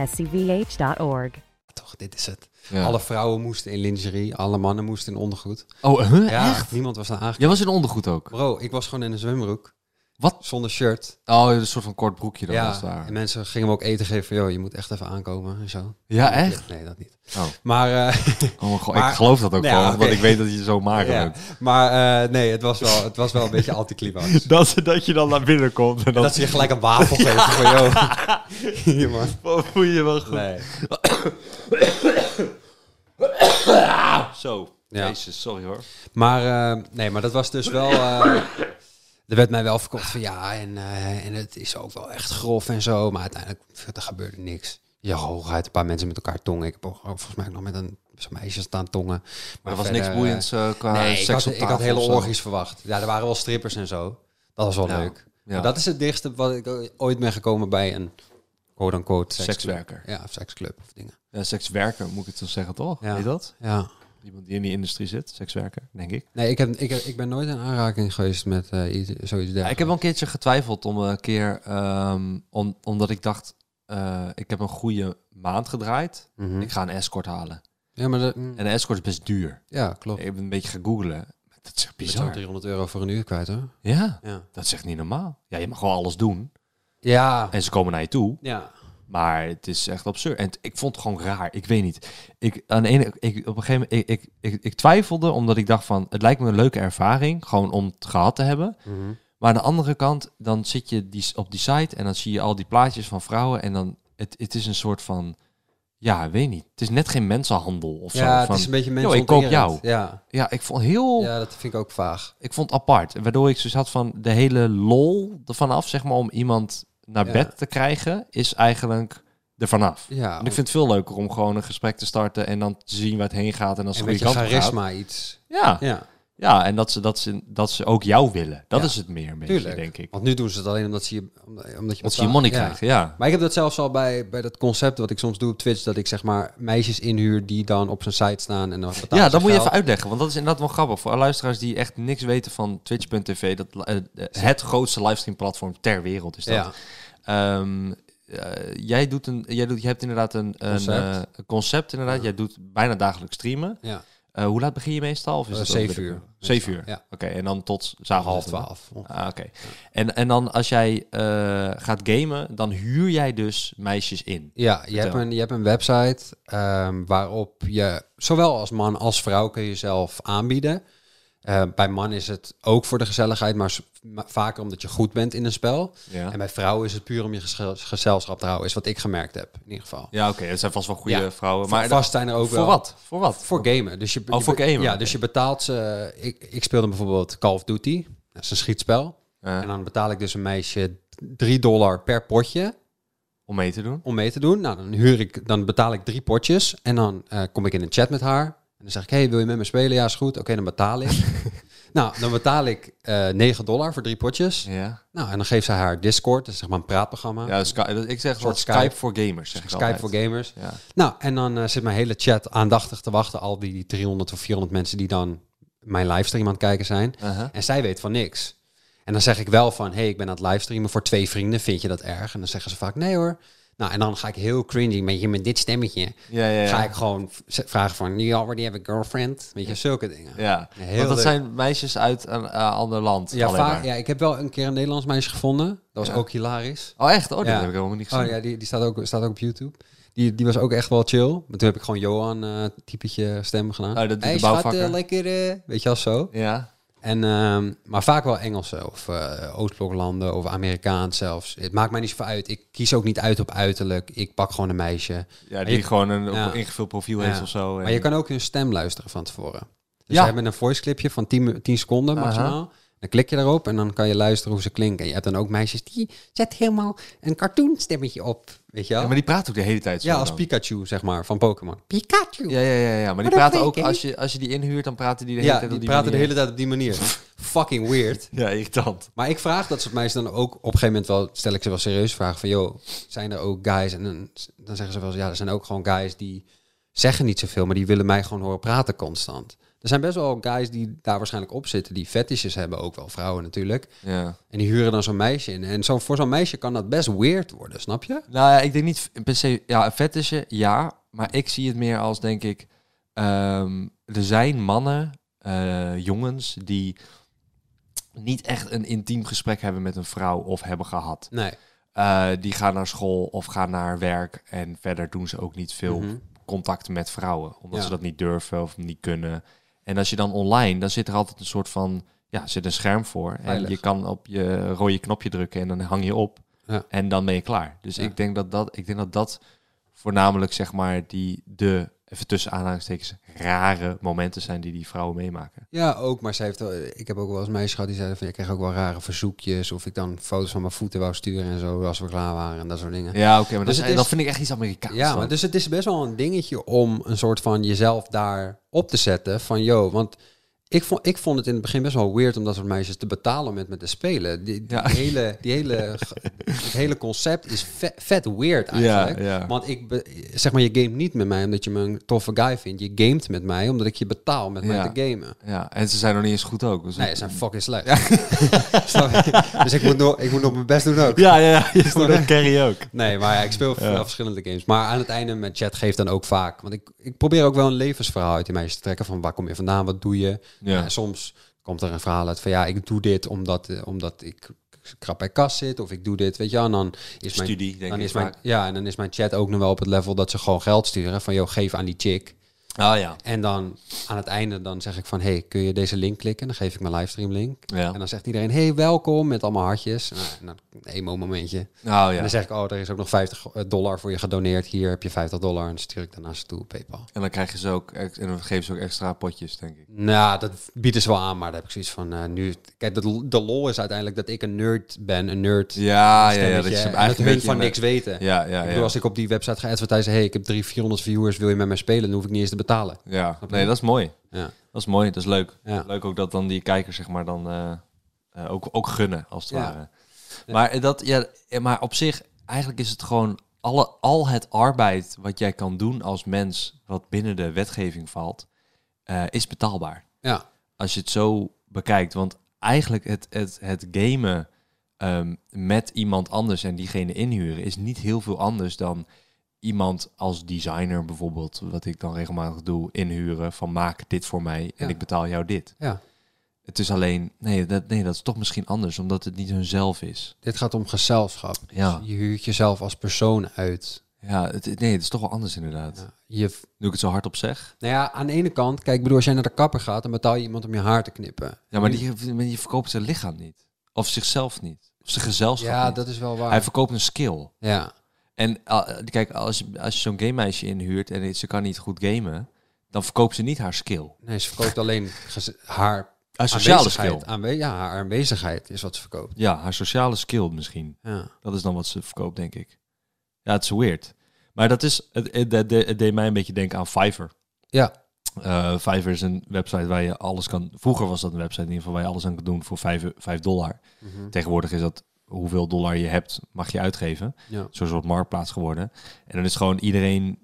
[SPEAKER 5] scvh.org.
[SPEAKER 3] toch, dit is het.
[SPEAKER 2] Ja.
[SPEAKER 3] Alle vrouwen moesten in lingerie, alle mannen moesten in ondergoed.
[SPEAKER 2] Oh, huh?
[SPEAKER 3] Ja,
[SPEAKER 2] echt?
[SPEAKER 3] niemand was daar aangekomen.
[SPEAKER 2] Jij was in ondergoed ook?
[SPEAKER 3] Bro, ik was gewoon in een zwembroek,
[SPEAKER 2] Wat?
[SPEAKER 3] zonder shirt.
[SPEAKER 2] Oh, een soort van kort broekje dan was
[SPEAKER 3] ja, en
[SPEAKER 2] daar.
[SPEAKER 3] mensen gingen me ook eten geven van, joh, je moet echt even aankomen en zo.
[SPEAKER 2] Ja, echt?
[SPEAKER 3] Nee, dat niet.
[SPEAKER 2] Oh.
[SPEAKER 3] Maar, eh,
[SPEAKER 2] Oh mijn god,
[SPEAKER 3] Maar-
[SPEAKER 2] ik geloof dat ook
[SPEAKER 3] Ja,
[SPEAKER 2] gewoon,
[SPEAKER 3] oké.
[SPEAKER 2] want ik weet dat je zo mager
[SPEAKER 3] ja,
[SPEAKER 2] bent.
[SPEAKER 3] maar eh, nee, het was wel, het was wel een beetje anticlimax.
[SPEAKER 2] Dat, dat je dan naar binnen komt en
[SPEAKER 3] En dat ze je gelijk een wafel geven van, joh, hier man.
[SPEAKER 2] voel je wel goed.
[SPEAKER 3] Nee.
[SPEAKER 2] Zo.
[SPEAKER 3] Ja.
[SPEAKER 2] Jezus, sorry hoor.
[SPEAKER 3] Maar, eh, nee, maar dat was dus wel... eh, er werd mij wel verkocht van ja, en, eh, en het is ook wel echt grof en zo. Maar uiteindelijk pff, er gebeurde niks. Je hooguit een paar mensen met elkaar tongen. Ik heb ook, ook volgens mij ook nog met een zo'n meisje staan tongen.
[SPEAKER 2] Maar er was
[SPEAKER 3] verder,
[SPEAKER 2] niks boeiends eh, qua
[SPEAKER 3] eh, nee,
[SPEAKER 2] seks
[SPEAKER 3] ik had,
[SPEAKER 2] op
[SPEAKER 3] ik
[SPEAKER 2] tafel
[SPEAKER 3] had hele
[SPEAKER 2] of zo.
[SPEAKER 3] orgies verwacht. Ja, er waren wel strippers en zo. Dat was wel
[SPEAKER 2] Ja,
[SPEAKER 3] leuk.
[SPEAKER 2] ja.
[SPEAKER 3] Maar dat is het dichtste wat ik ooit ben gekomen bij een quote-unquote seksclub.
[SPEAKER 2] Sekswerker.
[SPEAKER 3] Ja, of seksclub of dingen.
[SPEAKER 2] Ja, sekswerker moet ik het zo zeggen, toch?
[SPEAKER 3] Ja.
[SPEAKER 2] Heet dat?
[SPEAKER 3] Ja.
[SPEAKER 2] Iemand die in die industrie zit, sekswerker, denk ik.
[SPEAKER 3] Nee, ik, heb, ik, heb- ik ben nooit in aanraking geweest met eh, iets, zoiets dergelijks.
[SPEAKER 2] ik heb wel een keertje getwijfeld om een keer, ehm, om, omdat ik dacht, eh, ik heb een goede maand gedraaid.
[SPEAKER 3] Mhm.
[SPEAKER 2] Ik ga een escort halen.
[SPEAKER 3] Ja, maar dat, mm,
[SPEAKER 2] En een escort is best duur.
[SPEAKER 3] ja klopt.
[SPEAKER 2] Ik heb een beetje gaan googlen. Dat is echt
[SPEAKER 3] Je betaalt
[SPEAKER 2] bizar.
[SPEAKER 3] 300 euro voor een uur kwijt, hoor.
[SPEAKER 2] Ja,
[SPEAKER 3] Ja.
[SPEAKER 2] dat is echt niet normaal. Ja, je mag wel alles doen.
[SPEAKER 3] Ja.
[SPEAKER 2] En ze komen naar je toe.
[SPEAKER 3] Ja.
[SPEAKER 2] Maar het is echt absurd. En het- ik vond het gewoon raar. Ik weet niet. Ik, aan de ene, ik, op een gegeven moment, ik, ik, ik, ik twijfelde omdat ik dacht van, het lijkt me een leuke ervaring, gewoon om het gehad te hebben.
[SPEAKER 3] Mhm.
[SPEAKER 2] Maar aan de andere kant, dan zit je die, op die site en dan zie je al die plaatjes van vrouwen en dan, het, het is een soort van, ja, weet niet. Het is net geen mensenhandel of zo.
[SPEAKER 3] Ja,
[SPEAKER 2] van,
[SPEAKER 3] het is een beetje
[SPEAKER 2] "Yo,
[SPEAKER 3] mensen.
[SPEAKER 2] ik koop jou.
[SPEAKER 3] Ja.
[SPEAKER 2] Ja, ik vond heel,
[SPEAKER 3] ja, dat vind ik ook vaag.
[SPEAKER 2] ik vond het apart. Waardoor ik zoiets had van, de hele lol ervan af, zeg maar, om iemand naar
[SPEAKER 3] Ja.
[SPEAKER 2] bed te krijgen, is eigenlijk er vanaf.
[SPEAKER 3] Ja,
[SPEAKER 2] Want ik vind het veel leuker om gewoon een gesprek te starten en dan te zien waar het heen gaat en als
[SPEAKER 3] een
[SPEAKER 2] het de
[SPEAKER 3] beetje
[SPEAKER 2] goede kant op gaat.
[SPEAKER 3] charisma iets.
[SPEAKER 2] Ja, ja.
[SPEAKER 3] Ja,
[SPEAKER 2] en dat ze, dat, ze, dat ze ook jou willen. Dat
[SPEAKER 3] Ja.
[SPEAKER 2] is het meer, een beetje,
[SPEAKER 3] tuurlijk.
[SPEAKER 2] denk ik.
[SPEAKER 3] Want nu doen ze het alleen omdat ze je, omdat omdat je,
[SPEAKER 2] Wat ze je
[SPEAKER 3] betaalt.
[SPEAKER 2] money
[SPEAKER 3] Ja.
[SPEAKER 2] krijgen, ja.
[SPEAKER 3] Maar ik heb dat zelfs al bij, bij dat concept wat ik soms doe op Twitch, dat ik zeg maar meisjes inhuur die dan op zijn site staan en dan betaal
[SPEAKER 2] Ja,
[SPEAKER 3] ze
[SPEAKER 2] dat moet je
[SPEAKER 3] geld.
[SPEAKER 2] even uitleggen, want dat is inderdaad wel grappig. Voor alle luisteraars die echt niks weten van twitch.tv, dat eh, eh, het grootste livestream platform ter wereld is dat.
[SPEAKER 3] Ja,
[SPEAKER 2] Ehm, eh, jij, doet een, jij doet, je hebt inderdaad een, een
[SPEAKER 3] Concept.
[SPEAKER 2] eh, een concept inderdaad. Jij doet bijna dagelijks streamen.
[SPEAKER 3] ja.
[SPEAKER 2] Eh, hoe laat begin je meestal? Of is
[SPEAKER 3] Eh,
[SPEAKER 2] het
[SPEAKER 3] zeven uur.
[SPEAKER 2] Zeven uur?
[SPEAKER 3] Ja.
[SPEAKER 2] Oké, en dan tot zaterdag
[SPEAKER 3] half twaalf.
[SPEAKER 2] Ah, oké. En, en dan als jij eh, gaat gamen, dan huur jij dus meisjes in.
[SPEAKER 3] Ja, je hebt,
[SPEAKER 2] Vertel.
[SPEAKER 3] een, je hebt een website ehm, waarop je zowel als man als vrouw kun je jezelf aanbieden. Eh, bij man is het ook voor de gezelligheid, maar s- ma- vaker omdat je goed bent in een spel.
[SPEAKER 2] Ja.
[SPEAKER 3] En bij vrouwen is het puur om je gesche- gezelschap te houden, is wat ik gemerkt heb in ieder geval.
[SPEAKER 2] Ja, oké. dat zijn vast wel goede
[SPEAKER 3] Ja.
[SPEAKER 2] vrouwen.
[SPEAKER 3] Maar
[SPEAKER 2] Maar
[SPEAKER 3] vast zijn er ook
[SPEAKER 2] voor
[SPEAKER 3] wel.
[SPEAKER 2] wat? Voor wat?
[SPEAKER 3] Voor gamen. Dus je,
[SPEAKER 2] Oh,
[SPEAKER 3] je-
[SPEAKER 2] voor gamen,
[SPEAKER 3] Ja,
[SPEAKER 2] oké.
[SPEAKER 3] dus je betaalt ze. Ik, ik speelde bijvoorbeeld Call of Duty. Dat is een schietspel.
[SPEAKER 2] Ja.
[SPEAKER 3] En dan betaal ik dus een meisje 3 dollar per potje
[SPEAKER 2] Om mee te doen?
[SPEAKER 3] om mee te doen. Nou, dan, huur ik, dan betaal ik drie potjes. En dan eh, kom ik in een chat met haar. En dan zeg ik, hey, wil je met me spelen? Ja, is goed. Oké, dan betaal ik. nou, dan betaal ik eh 9 dollar voor drie potjes.
[SPEAKER 2] Ja.
[SPEAKER 3] Nou, en dan geeft zij haar Discord. Dat is zeg maar een praatprogramma.
[SPEAKER 2] ja dus Sky- dat- ik zeg wel
[SPEAKER 3] soort
[SPEAKER 2] Skype.
[SPEAKER 3] Skype.
[SPEAKER 2] voor gamers. Zeg ik
[SPEAKER 3] Skype
[SPEAKER 2] altijd.
[SPEAKER 3] voor gamers.
[SPEAKER 2] Ja.
[SPEAKER 3] Nou, en dan eh, zit mijn hele chat aandachtig te wachten. Al die 300 of 400 mensen die dan mijn livestream aan het kijken zijn.
[SPEAKER 2] Uh-huh.
[SPEAKER 3] En zij weet van niks. En dan zeg ik wel van, hey, ik ben aan het livestreamen voor twee vrienden. Vind je dat erg? En dan zeggen ze vaak, nee hoor. Nou, en dan ga ik heel cringy met, je, met dit stemmetje.
[SPEAKER 2] Ja, ja, ja.
[SPEAKER 3] Ga ik gewoon v- vragen van, you already have a girlfriend? Weet je, zulke dingen.
[SPEAKER 2] Ja.
[SPEAKER 3] Heel
[SPEAKER 2] Want dat
[SPEAKER 3] leuk.
[SPEAKER 2] zijn meisjes uit een eh, ander land.
[SPEAKER 3] Ja,
[SPEAKER 2] alleen
[SPEAKER 3] vaak,
[SPEAKER 2] maar.
[SPEAKER 3] ja, ik heb wel een keer een Nederlands meisje gevonden. Dat was ook hilarisch.
[SPEAKER 2] Oh, echt? Oh, dat
[SPEAKER 3] Ja.
[SPEAKER 2] heb ik helemaal niet gezien.
[SPEAKER 3] Oh ja, die, die staat, ook, staat ook op YouTube. Die, die was ook echt wel chill. Maar toen heb ik gewoon Johan eh typetje stem gedaan.
[SPEAKER 2] Oh, dat doet de
[SPEAKER 3] schat, eh,
[SPEAKER 2] bouwvakker.
[SPEAKER 3] lekker, eh, weet je wel zo.
[SPEAKER 2] Ja.
[SPEAKER 3] En, ehm, maar vaak wel Engelsen of eh, Oostbloklanden of Amerikaans zelfs. Het maakt mij niet zoveel uit. Ik kies ook niet uit op uiterlijk. Ik pak gewoon een meisje.
[SPEAKER 2] Ja,
[SPEAKER 3] Maar
[SPEAKER 2] die
[SPEAKER 3] je-
[SPEAKER 2] gewoon een
[SPEAKER 3] Ja.
[SPEAKER 2] ingevuld profiel
[SPEAKER 3] Ja.
[SPEAKER 2] heeft of zo.
[SPEAKER 3] Maar
[SPEAKER 2] en-
[SPEAKER 3] je kan ook hun stem luisteren van tevoren. Dus
[SPEAKER 2] Ja.
[SPEAKER 3] ze hebben een voice clipje van 10, mi- 10 seconden
[SPEAKER 2] Aha.
[SPEAKER 3] maximaal. Dan klik je daarop en dan kan je luisteren hoe ze klinken. En je hebt dan ook meisjes die zet helemaal een cartoonstemmetje op. Weet je wel?
[SPEAKER 2] Ja, maar die praat ook de hele tijd zo
[SPEAKER 3] Ja, als
[SPEAKER 2] dan.
[SPEAKER 3] Pikachu, zeg maar, van Pokémon. Pikachu!
[SPEAKER 2] Ja,
[SPEAKER 3] Ja,
[SPEAKER 2] ja, ja, ja. Maar die
[SPEAKER 3] dat
[SPEAKER 2] praten
[SPEAKER 3] weet
[SPEAKER 2] ook,
[SPEAKER 3] ik.
[SPEAKER 2] als je, als je die inhuurt, dan praten die de hele tijd
[SPEAKER 3] die,
[SPEAKER 2] op die
[SPEAKER 3] praten de
[SPEAKER 2] manier.
[SPEAKER 3] hele tijd op die manier. Fucking weird.
[SPEAKER 2] Ja, irritant.
[SPEAKER 3] Maar ik vraag dat soort meisjes dan ook op een gegeven moment wel, stel ik ze wel serieus vragen van, joh, zijn er ook guys? En dan, dan zeggen ze wel, eens, ja, er zijn ook gewoon guys die zeggen niet zoveel, maar die willen mij gewoon horen praten constant. Er zijn best wel guys die daar waarschijnlijk op zitten, die fetishes hebben, ook wel vrouwen natuurlijk.
[SPEAKER 2] Ja.
[SPEAKER 3] En die huren dan zo'n meisje in. En zo, voor zo'n meisje kan dat best weird worden, snap je?
[SPEAKER 2] Nou ja, ik denk niet per se... Ja, een fetisje, ja. Maar ik zie het meer als, denk ik... ehm, er zijn mannen, eh, jongens, die niet echt een intiem gesprek hebben met een vrouw of hebben gehad.
[SPEAKER 3] Nee.
[SPEAKER 2] Eh, die gaan naar school of gaan naar werk. En verder doen ze ook niet veel contact met vrouwen. Omdat
[SPEAKER 3] Mhm. Ja.
[SPEAKER 2] ze dat niet durven of niet kunnen. En als je dan online, dan zit er altijd een soort van... Ja, zit een scherm voor.
[SPEAKER 3] Veilig.
[SPEAKER 2] En je kan op je rode knopje drukken en dan hang je op.
[SPEAKER 3] Ja.
[SPEAKER 2] En dan ben je klaar. Dus
[SPEAKER 3] Ja.
[SPEAKER 2] ik, denk dat dat, ik denk dat dat voornamelijk zeg maar die de... Even tussen aanhalingstekens, rare momenten zijn die die vrouwen meemaken.
[SPEAKER 3] Ja, ook. Maar ze heeft, wel- ik heb ook wel eens meisjes gehad die zeiden van... je kreeg ook wel rare verzoekjes. Of ik dan foto's van mijn voeten wou sturen en zo... als we klaar waren en dat soort dingen.
[SPEAKER 2] Ja, oké, maar
[SPEAKER 3] Dus
[SPEAKER 2] dat,
[SPEAKER 3] het
[SPEAKER 2] is, dat
[SPEAKER 3] is-
[SPEAKER 2] vind ik echt iets Amerikaans.
[SPEAKER 3] Ja,
[SPEAKER 2] dan.
[SPEAKER 3] maar dus het is best wel een dingetje om een soort van jezelf daar op te zetten. Van, yo, want Ik vond, ik vond het in het begin best wel weird om dat soort meisjes te betalen om met me te spelen. Die, die
[SPEAKER 2] Ja.
[SPEAKER 3] hele, die hele, ge- het hele concept is vet, vet weird eigenlijk.
[SPEAKER 2] Ja, ja.
[SPEAKER 3] Want ik be- zeg maar, je gamet niet met mij omdat je me een toffe guy vindt. Je gamet met mij omdat ik je betaal met mij
[SPEAKER 2] Ja.
[SPEAKER 3] te gamen.
[SPEAKER 2] Ja, en ze zijn nog niet eens goed ook. Dus
[SPEAKER 3] Nee, ze zijn fucking slecht. Snap je? dus ik moet, nog, ik moet nog mijn best doen ook.
[SPEAKER 2] Ja, ja, ja. Je stond ook carry ook.
[SPEAKER 3] Nee, maar ja, ik speel veel verschillende games. Maar aan het einde met chat geeft dan ook vaak. Want ik, ik probeer ook wel een levensverhaal uit die meisjes te trekken. Van waar kom je vandaan, wat doe je?
[SPEAKER 2] Ja.
[SPEAKER 3] En soms komt er een verhaal uit van ja, ik doe dit omdat, eh, omdat ik krap bij kas zit. Of ik doe dit, weet je wel. En dan is mijn,
[SPEAKER 2] Studie, denk
[SPEAKER 3] dan
[SPEAKER 2] ik
[SPEAKER 3] is mijn,
[SPEAKER 2] vaak.
[SPEAKER 3] Ja, en dan is mijn chat ook nog wel op het level dat ze gewoon geld sturen. Van joh, geef aan die chick.
[SPEAKER 2] Ah ja.
[SPEAKER 3] En dan aan het einde dan zeg ik van, hey, kun je deze link klikken? Dan geef ik mijn livestream link.
[SPEAKER 2] Ja.
[SPEAKER 3] En dan zegt iedereen, hey, welkom, met allemaal hartjes. Nou, en dan een emo momentje.
[SPEAKER 2] Nou
[SPEAKER 3] En
[SPEAKER 2] ja.
[SPEAKER 3] dan zeg ik, oh, er is ook nog 50 dollar voor je gedoneerd. Hier heb je 50 dollar. En dan stuur ik daarnaast toe op PayPal.
[SPEAKER 2] En dan krijgen ze ook, ex- en dan geven ze ook extra potjes, denk ik.
[SPEAKER 3] Nou, dat bieden ze wel aan, maar daar heb ik zoiets van eh, nu. Kijk, de, de lol is uiteindelijk dat ik een nerd ben, een nerd.
[SPEAKER 2] Ja, ja, ja.
[SPEAKER 3] stemmetje,
[SPEAKER 2] Dat je
[SPEAKER 3] en
[SPEAKER 2] eigenlijk
[SPEAKER 3] dat
[SPEAKER 2] een
[SPEAKER 3] hun
[SPEAKER 2] beetje
[SPEAKER 3] van
[SPEAKER 2] met-
[SPEAKER 3] niks weten.
[SPEAKER 2] Ja, ja,
[SPEAKER 3] Ik
[SPEAKER 2] ja.
[SPEAKER 3] bedoel, als ik op die website ga advertisen, hey, ik heb 300, 400 viewers, wil je met mij spelen? Dan hoef ik niet eens te betalen.
[SPEAKER 2] Ja, nee, dat is mooi.
[SPEAKER 3] Ja.
[SPEAKER 2] Dat is mooi, dat is leuk.
[SPEAKER 3] Ja.
[SPEAKER 2] Leuk ook dat dan die kijkers zeg maar dan eh, eh, ook, ook gunnen, als het
[SPEAKER 3] Ja.
[SPEAKER 2] ware. Maar, dat, ja, eh, maar op zich, eigenlijk is het gewoon alle, al het arbeid wat jij kan doen als mens, wat binnen de wetgeving valt, eh, is betaalbaar.
[SPEAKER 3] Ja,
[SPEAKER 2] Als je het zo bekijkt. Want eigenlijk het, het, het gamen ehm, met iemand anders en diegene inhuren is niet heel veel anders dan iemand als designer bijvoorbeeld, wat ik dan regelmatig doe, inhuren van maak dit voor mij en
[SPEAKER 3] Ja.
[SPEAKER 2] ik betaal jou dit.
[SPEAKER 3] ja.
[SPEAKER 2] Het is alleen, nee dat, nee, dat is toch misschien anders, omdat het niet hunzelf is.
[SPEAKER 3] Dit gaat om gezelschap. Dus
[SPEAKER 2] Ja.
[SPEAKER 3] je huurt jezelf als persoon uit.
[SPEAKER 2] Ja, het, nee, het is toch wel anders inderdaad.
[SPEAKER 3] Je,
[SPEAKER 2] Nu ik het zo hardop zeg.
[SPEAKER 3] nou ja, aan de ene kant, kijk, ik bedoel, als jij naar de kapper gaat, dan betaal je iemand om je haar te knippen.
[SPEAKER 2] Ja, maar die, maar die verkoopt zijn lichaam niet. Of zichzelf niet. Of zijn gezelschap
[SPEAKER 3] Ja,
[SPEAKER 2] niet.
[SPEAKER 3] dat is wel waar.
[SPEAKER 2] Hij verkoopt een skill.
[SPEAKER 3] ja.
[SPEAKER 2] En ah, kijk, als, je- als je zo'n gamemeisje inhuurt en ze kan niet goed gamen, dan verkoopt ze niet haar skill.
[SPEAKER 3] Nee, ze verkoopt alleen gez- haar
[SPEAKER 2] Haar sociale
[SPEAKER 3] aanwezigheid.
[SPEAKER 2] skill.
[SPEAKER 3] Aanwe- ja, haar aanwezigheid is wat ze verkoopt.
[SPEAKER 2] Ja, haar sociale skill misschien.
[SPEAKER 3] Ja.
[SPEAKER 2] Dat is dan wat ze verkoopt, denk ik. Ja, het is weird. Maar dat is, het, het, het- het deed mij een beetje denken aan Fiverr.
[SPEAKER 3] ja.
[SPEAKER 2] Eh, Fiverr is een website waar je alles kan... Vroeger was dat een website in ieder geval waar je alles aan kan doen voor 5, dollar. Tegenwoordig is dat hoeveel dollar je hebt, mag je uitgeven.
[SPEAKER 3] Ja.
[SPEAKER 2] Zo'n soort marktplaats geworden. En dan is gewoon iedereen...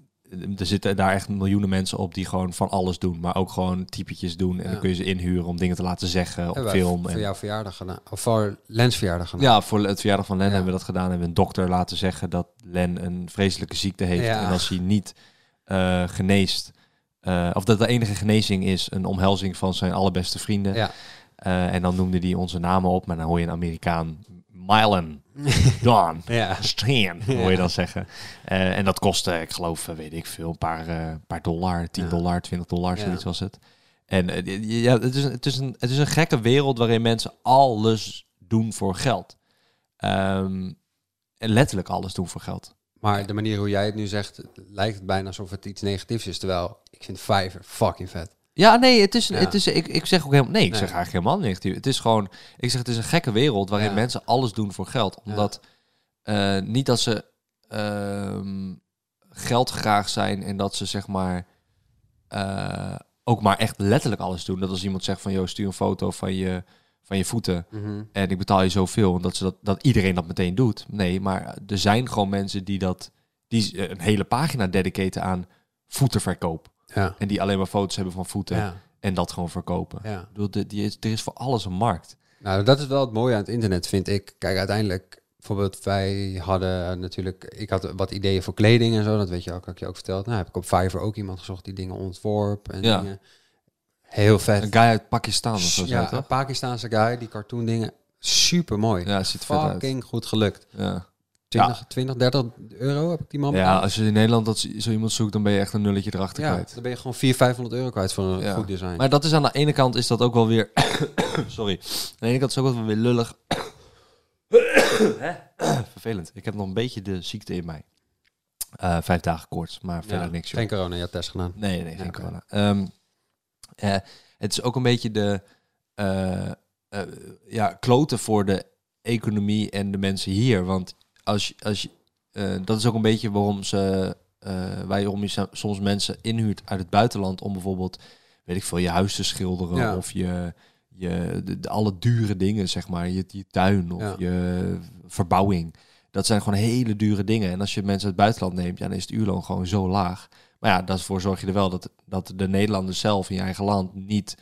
[SPEAKER 2] Er zitten daar echt miljoenen mensen op die gewoon van alles doen. Maar ook gewoon typetjes doen. En
[SPEAKER 3] Ja.
[SPEAKER 2] dan kun je ze inhuren om dingen te laten zeggen op
[SPEAKER 3] Hebben wij
[SPEAKER 2] film.
[SPEAKER 3] Voor
[SPEAKER 2] en-
[SPEAKER 3] jouw verjaardag gedaan. Of voor Lens verjaardag gedaan.
[SPEAKER 2] ja, voor het verjaardag van Len
[SPEAKER 3] Ja.
[SPEAKER 2] hebben we dat gedaan. Hebben we een dokter laten zeggen dat Len een vreselijke ziekte heeft.
[SPEAKER 3] Ja.
[SPEAKER 2] En als hij niet eh, geneest, eh, of dat de enige genezing is, een omhelzing van zijn allerbeste vrienden.
[SPEAKER 3] Ja.
[SPEAKER 2] Eh, en dan noemde hij onze namen op, maar dan hoor je een Amerikaan. Mylan, Don,
[SPEAKER 3] Ja.
[SPEAKER 2] Steen, hoor je dan zeggen. Eh, en dat kostte, ik geloof, eh, weet ik veel, een paar, eh, een paar dollar, 10
[SPEAKER 3] Ja.
[SPEAKER 2] dollar, 20 dollar,
[SPEAKER 3] Ja.
[SPEAKER 2] zoiets was het. En eh, ja, het, is, een- het, is een, het is een gekke wereld waarin mensen alles doen voor geld. Ehm, en letterlijk alles doen voor geld.
[SPEAKER 3] Maar de manier hoe jij het nu zegt, lijkt het bijna alsof het iets negatiefs is. Terwijl ik vind Fiverr fucking vet.
[SPEAKER 2] Ja, nee, het is, Het
[SPEAKER 3] Ja.
[SPEAKER 2] is, ik, ik zeg ook helemaal, nee, ik
[SPEAKER 3] Nee.
[SPEAKER 2] zeg eigenlijk helemaal negatief. Het is gewoon, ik zeg het is een gekke wereld waarin
[SPEAKER 3] Ja.
[SPEAKER 2] mensen alles doen voor geld. Omdat eh, niet dat ze ehm, geld graag zijn en dat ze zeg maar eh, ook maar echt letterlijk alles doen. Dat als iemand zegt van, joh, stuur een foto van je, van je voeten
[SPEAKER 3] Mhm.
[SPEAKER 2] en ik betaal je zoveel. En dat, ze dat, dat iedereen dat meteen doet. Nee, maar er zijn gewoon mensen die dat, die eh, een hele pagina dedicaten aan voetenverkoop.
[SPEAKER 3] Ja.
[SPEAKER 2] En die alleen maar foto's hebben van voeten
[SPEAKER 3] Ja.
[SPEAKER 2] en dat gewoon verkopen.
[SPEAKER 3] Ja.
[SPEAKER 2] Ik bedoel, de- die is, er is voor alles een markt.
[SPEAKER 3] Nou, dat is wel het mooie aan het internet, vind ik. Kijk, uiteindelijk, bijvoorbeeld, wij hadden natuurlijk... Ik had wat ideeën voor kleding en zo, dat weet je ook, had ik je ook verteld. Nou, heb ik op Fiverr ook iemand gezocht die dingen ontworp en
[SPEAKER 2] Ja.
[SPEAKER 3] dingen. Heel vet.
[SPEAKER 2] Een guy uit Pakistan of zo,
[SPEAKER 3] ja,
[SPEAKER 2] ja,
[SPEAKER 3] een
[SPEAKER 2] toch?
[SPEAKER 3] Pakistaanse guy, die cartoon dingen. Super mooi.
[SPEAKER 2] Ja, ziet er vet uit.
[SPEAKER 3] Fucking goed gelukt.
[SPEAKER 2] Ja.
[SPEAKER 3] 20, 20, 30 euro heb ik die man
[SPEAKER 2] ja,
[SPEAKER 3] betaald.
[SPEAKER 2] als je in Nederland dat, zo iemand zoekt, dan ben je echt een nulletje erachter
[SPEAKER 3] ja,
[SPEAKER 2] kwijt.
[SPEAKER 3] dan ben je gewoon 400, 500 euro kwijt voor een
[SPEAKER 2] Ja.
[SPEAKER 3] goed design.
[SPEAKER 2] Maar dat is aan de ene kant is dat ook wel weer... Sorry. Aan de ene kant is het ook wel weer lullig. Hè? Vervelend. Ik heb nog een beetje de ziekte in mij. Eh, vijf dagen koorts, maar
[SPEAKER 3] Ja,
[SPEAKER 2] verder niks. joh.
[SPEAKER 3] Geen corona, je had test gedaan.
[SPEAKER 2] Nee, nee, geen
[SPEAKER 3] oké.
[SPEAKER 2] corona. Ehm, eh, het is ook een beetje de eh, eh, ja, kloten voor de economie en de mensen hier. Want als, je- als, je- eh, dat is ook een beetje waarom ze, eh, waarom je sa- soms mensen inhuurt uit het buitenland om bijvoorbeeld weet ik veel, je huis te schilderen
[SPEAKER 3] Ja.
[SPEAKER 2] of je, je de, de- alle dure dingen, zeg maar, je, je tuin of
[SPEAKER 3] Ja.
[SPEAKER 2] je verbouwing. Dat zijn gewoon hele dure dingen. En als je mensen uit het buitenland neemt, ja, dan is het uurloon gewoon zo laag. Maar ja, daarvoor zorg je er wel dat, dat de Nederlanders zelf in je eigen land niet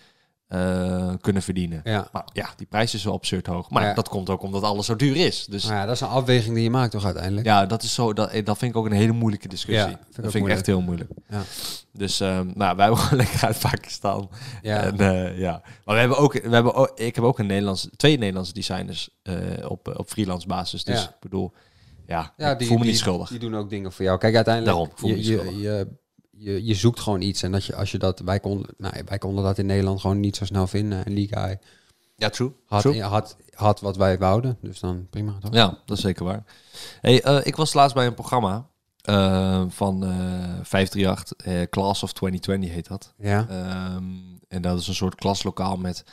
[SPEAKER 2] eh, kunnen verdienen.
[SPEAKER 3] Ja.
[SPEAKER 2] Maar ja, die prijs is wel absurd hoog. Maar
[SPEAKER 3] Ja.
[SPEAKER 2] dat komt ook omdat alles zo duur is. Dus
[SPEAKER 3] Maar ja, dat is een afweging die je maakt toch uiteindelijk?
[SPEAKER 2] ja, dat, is zo, dat, eh, dat vind ik ook een hele moeilijke discussie.
[SPEAKER 3] Ja, vind ik
[SPEAKER 2] dat
[SPEAKER 3] ook
[SPEAKER 2] vind ik echt heel moeilijk.
[SPEAKER 3] Ja.
[SPEAKER 2] Dus ehm, nou, wij hebben gewoon lekker uit Pakistan.
[SPEAKER 3] Ja.
[SPEAKER 2] En, eh, ja. Maar we hebben ook, we hebben ook, ik heb ook een Nederlandse, twee Nederlandse designers eh, op, eh, op freelance basis. Dus
[SPEAKER 3] Ja.
[SPEAKER 2] ik bedoel, ja,
[SPEAKER 3] Ja,
[SPEAKER 2] ik voel me
[SPEAKER 3] die,
[SPEAKER 2] niet schuldig.
[SPEAKER 3] Die doen ook dingen voor jou. Kijk, uiteindelijk,
[SPEAKER 2] Daarom, ik voel me
[SPEAKER 3] je,
[SPEAKER 2] niet
[SPEAKER 3] je,
[SPEAKER 2] schuldig.
[SPEAKER 3] je, je, je zoekt gewoon iets. En dat je, als je dat, wij konden, nou, wij konden dat in Nederland gewoon niet zo snel vinden. En die guy
[SPEAKER 2] ja, true.
[SPEAKER 3] had,
[SPEAKER 2] true.
[SPEAKER 3] had, had wat wij wouden. Dus dan prima. Toch?
[SPEAKER 2] Ja, dat is zeker waar. Hey, eh, ik was laatst bij een programma eh, van eh 538, eh, Class of 2020 heet dat.
[SPEAKER 3] Ja.
[SPEAKER 2] Ehm, en dat is een soort klaslokaal met,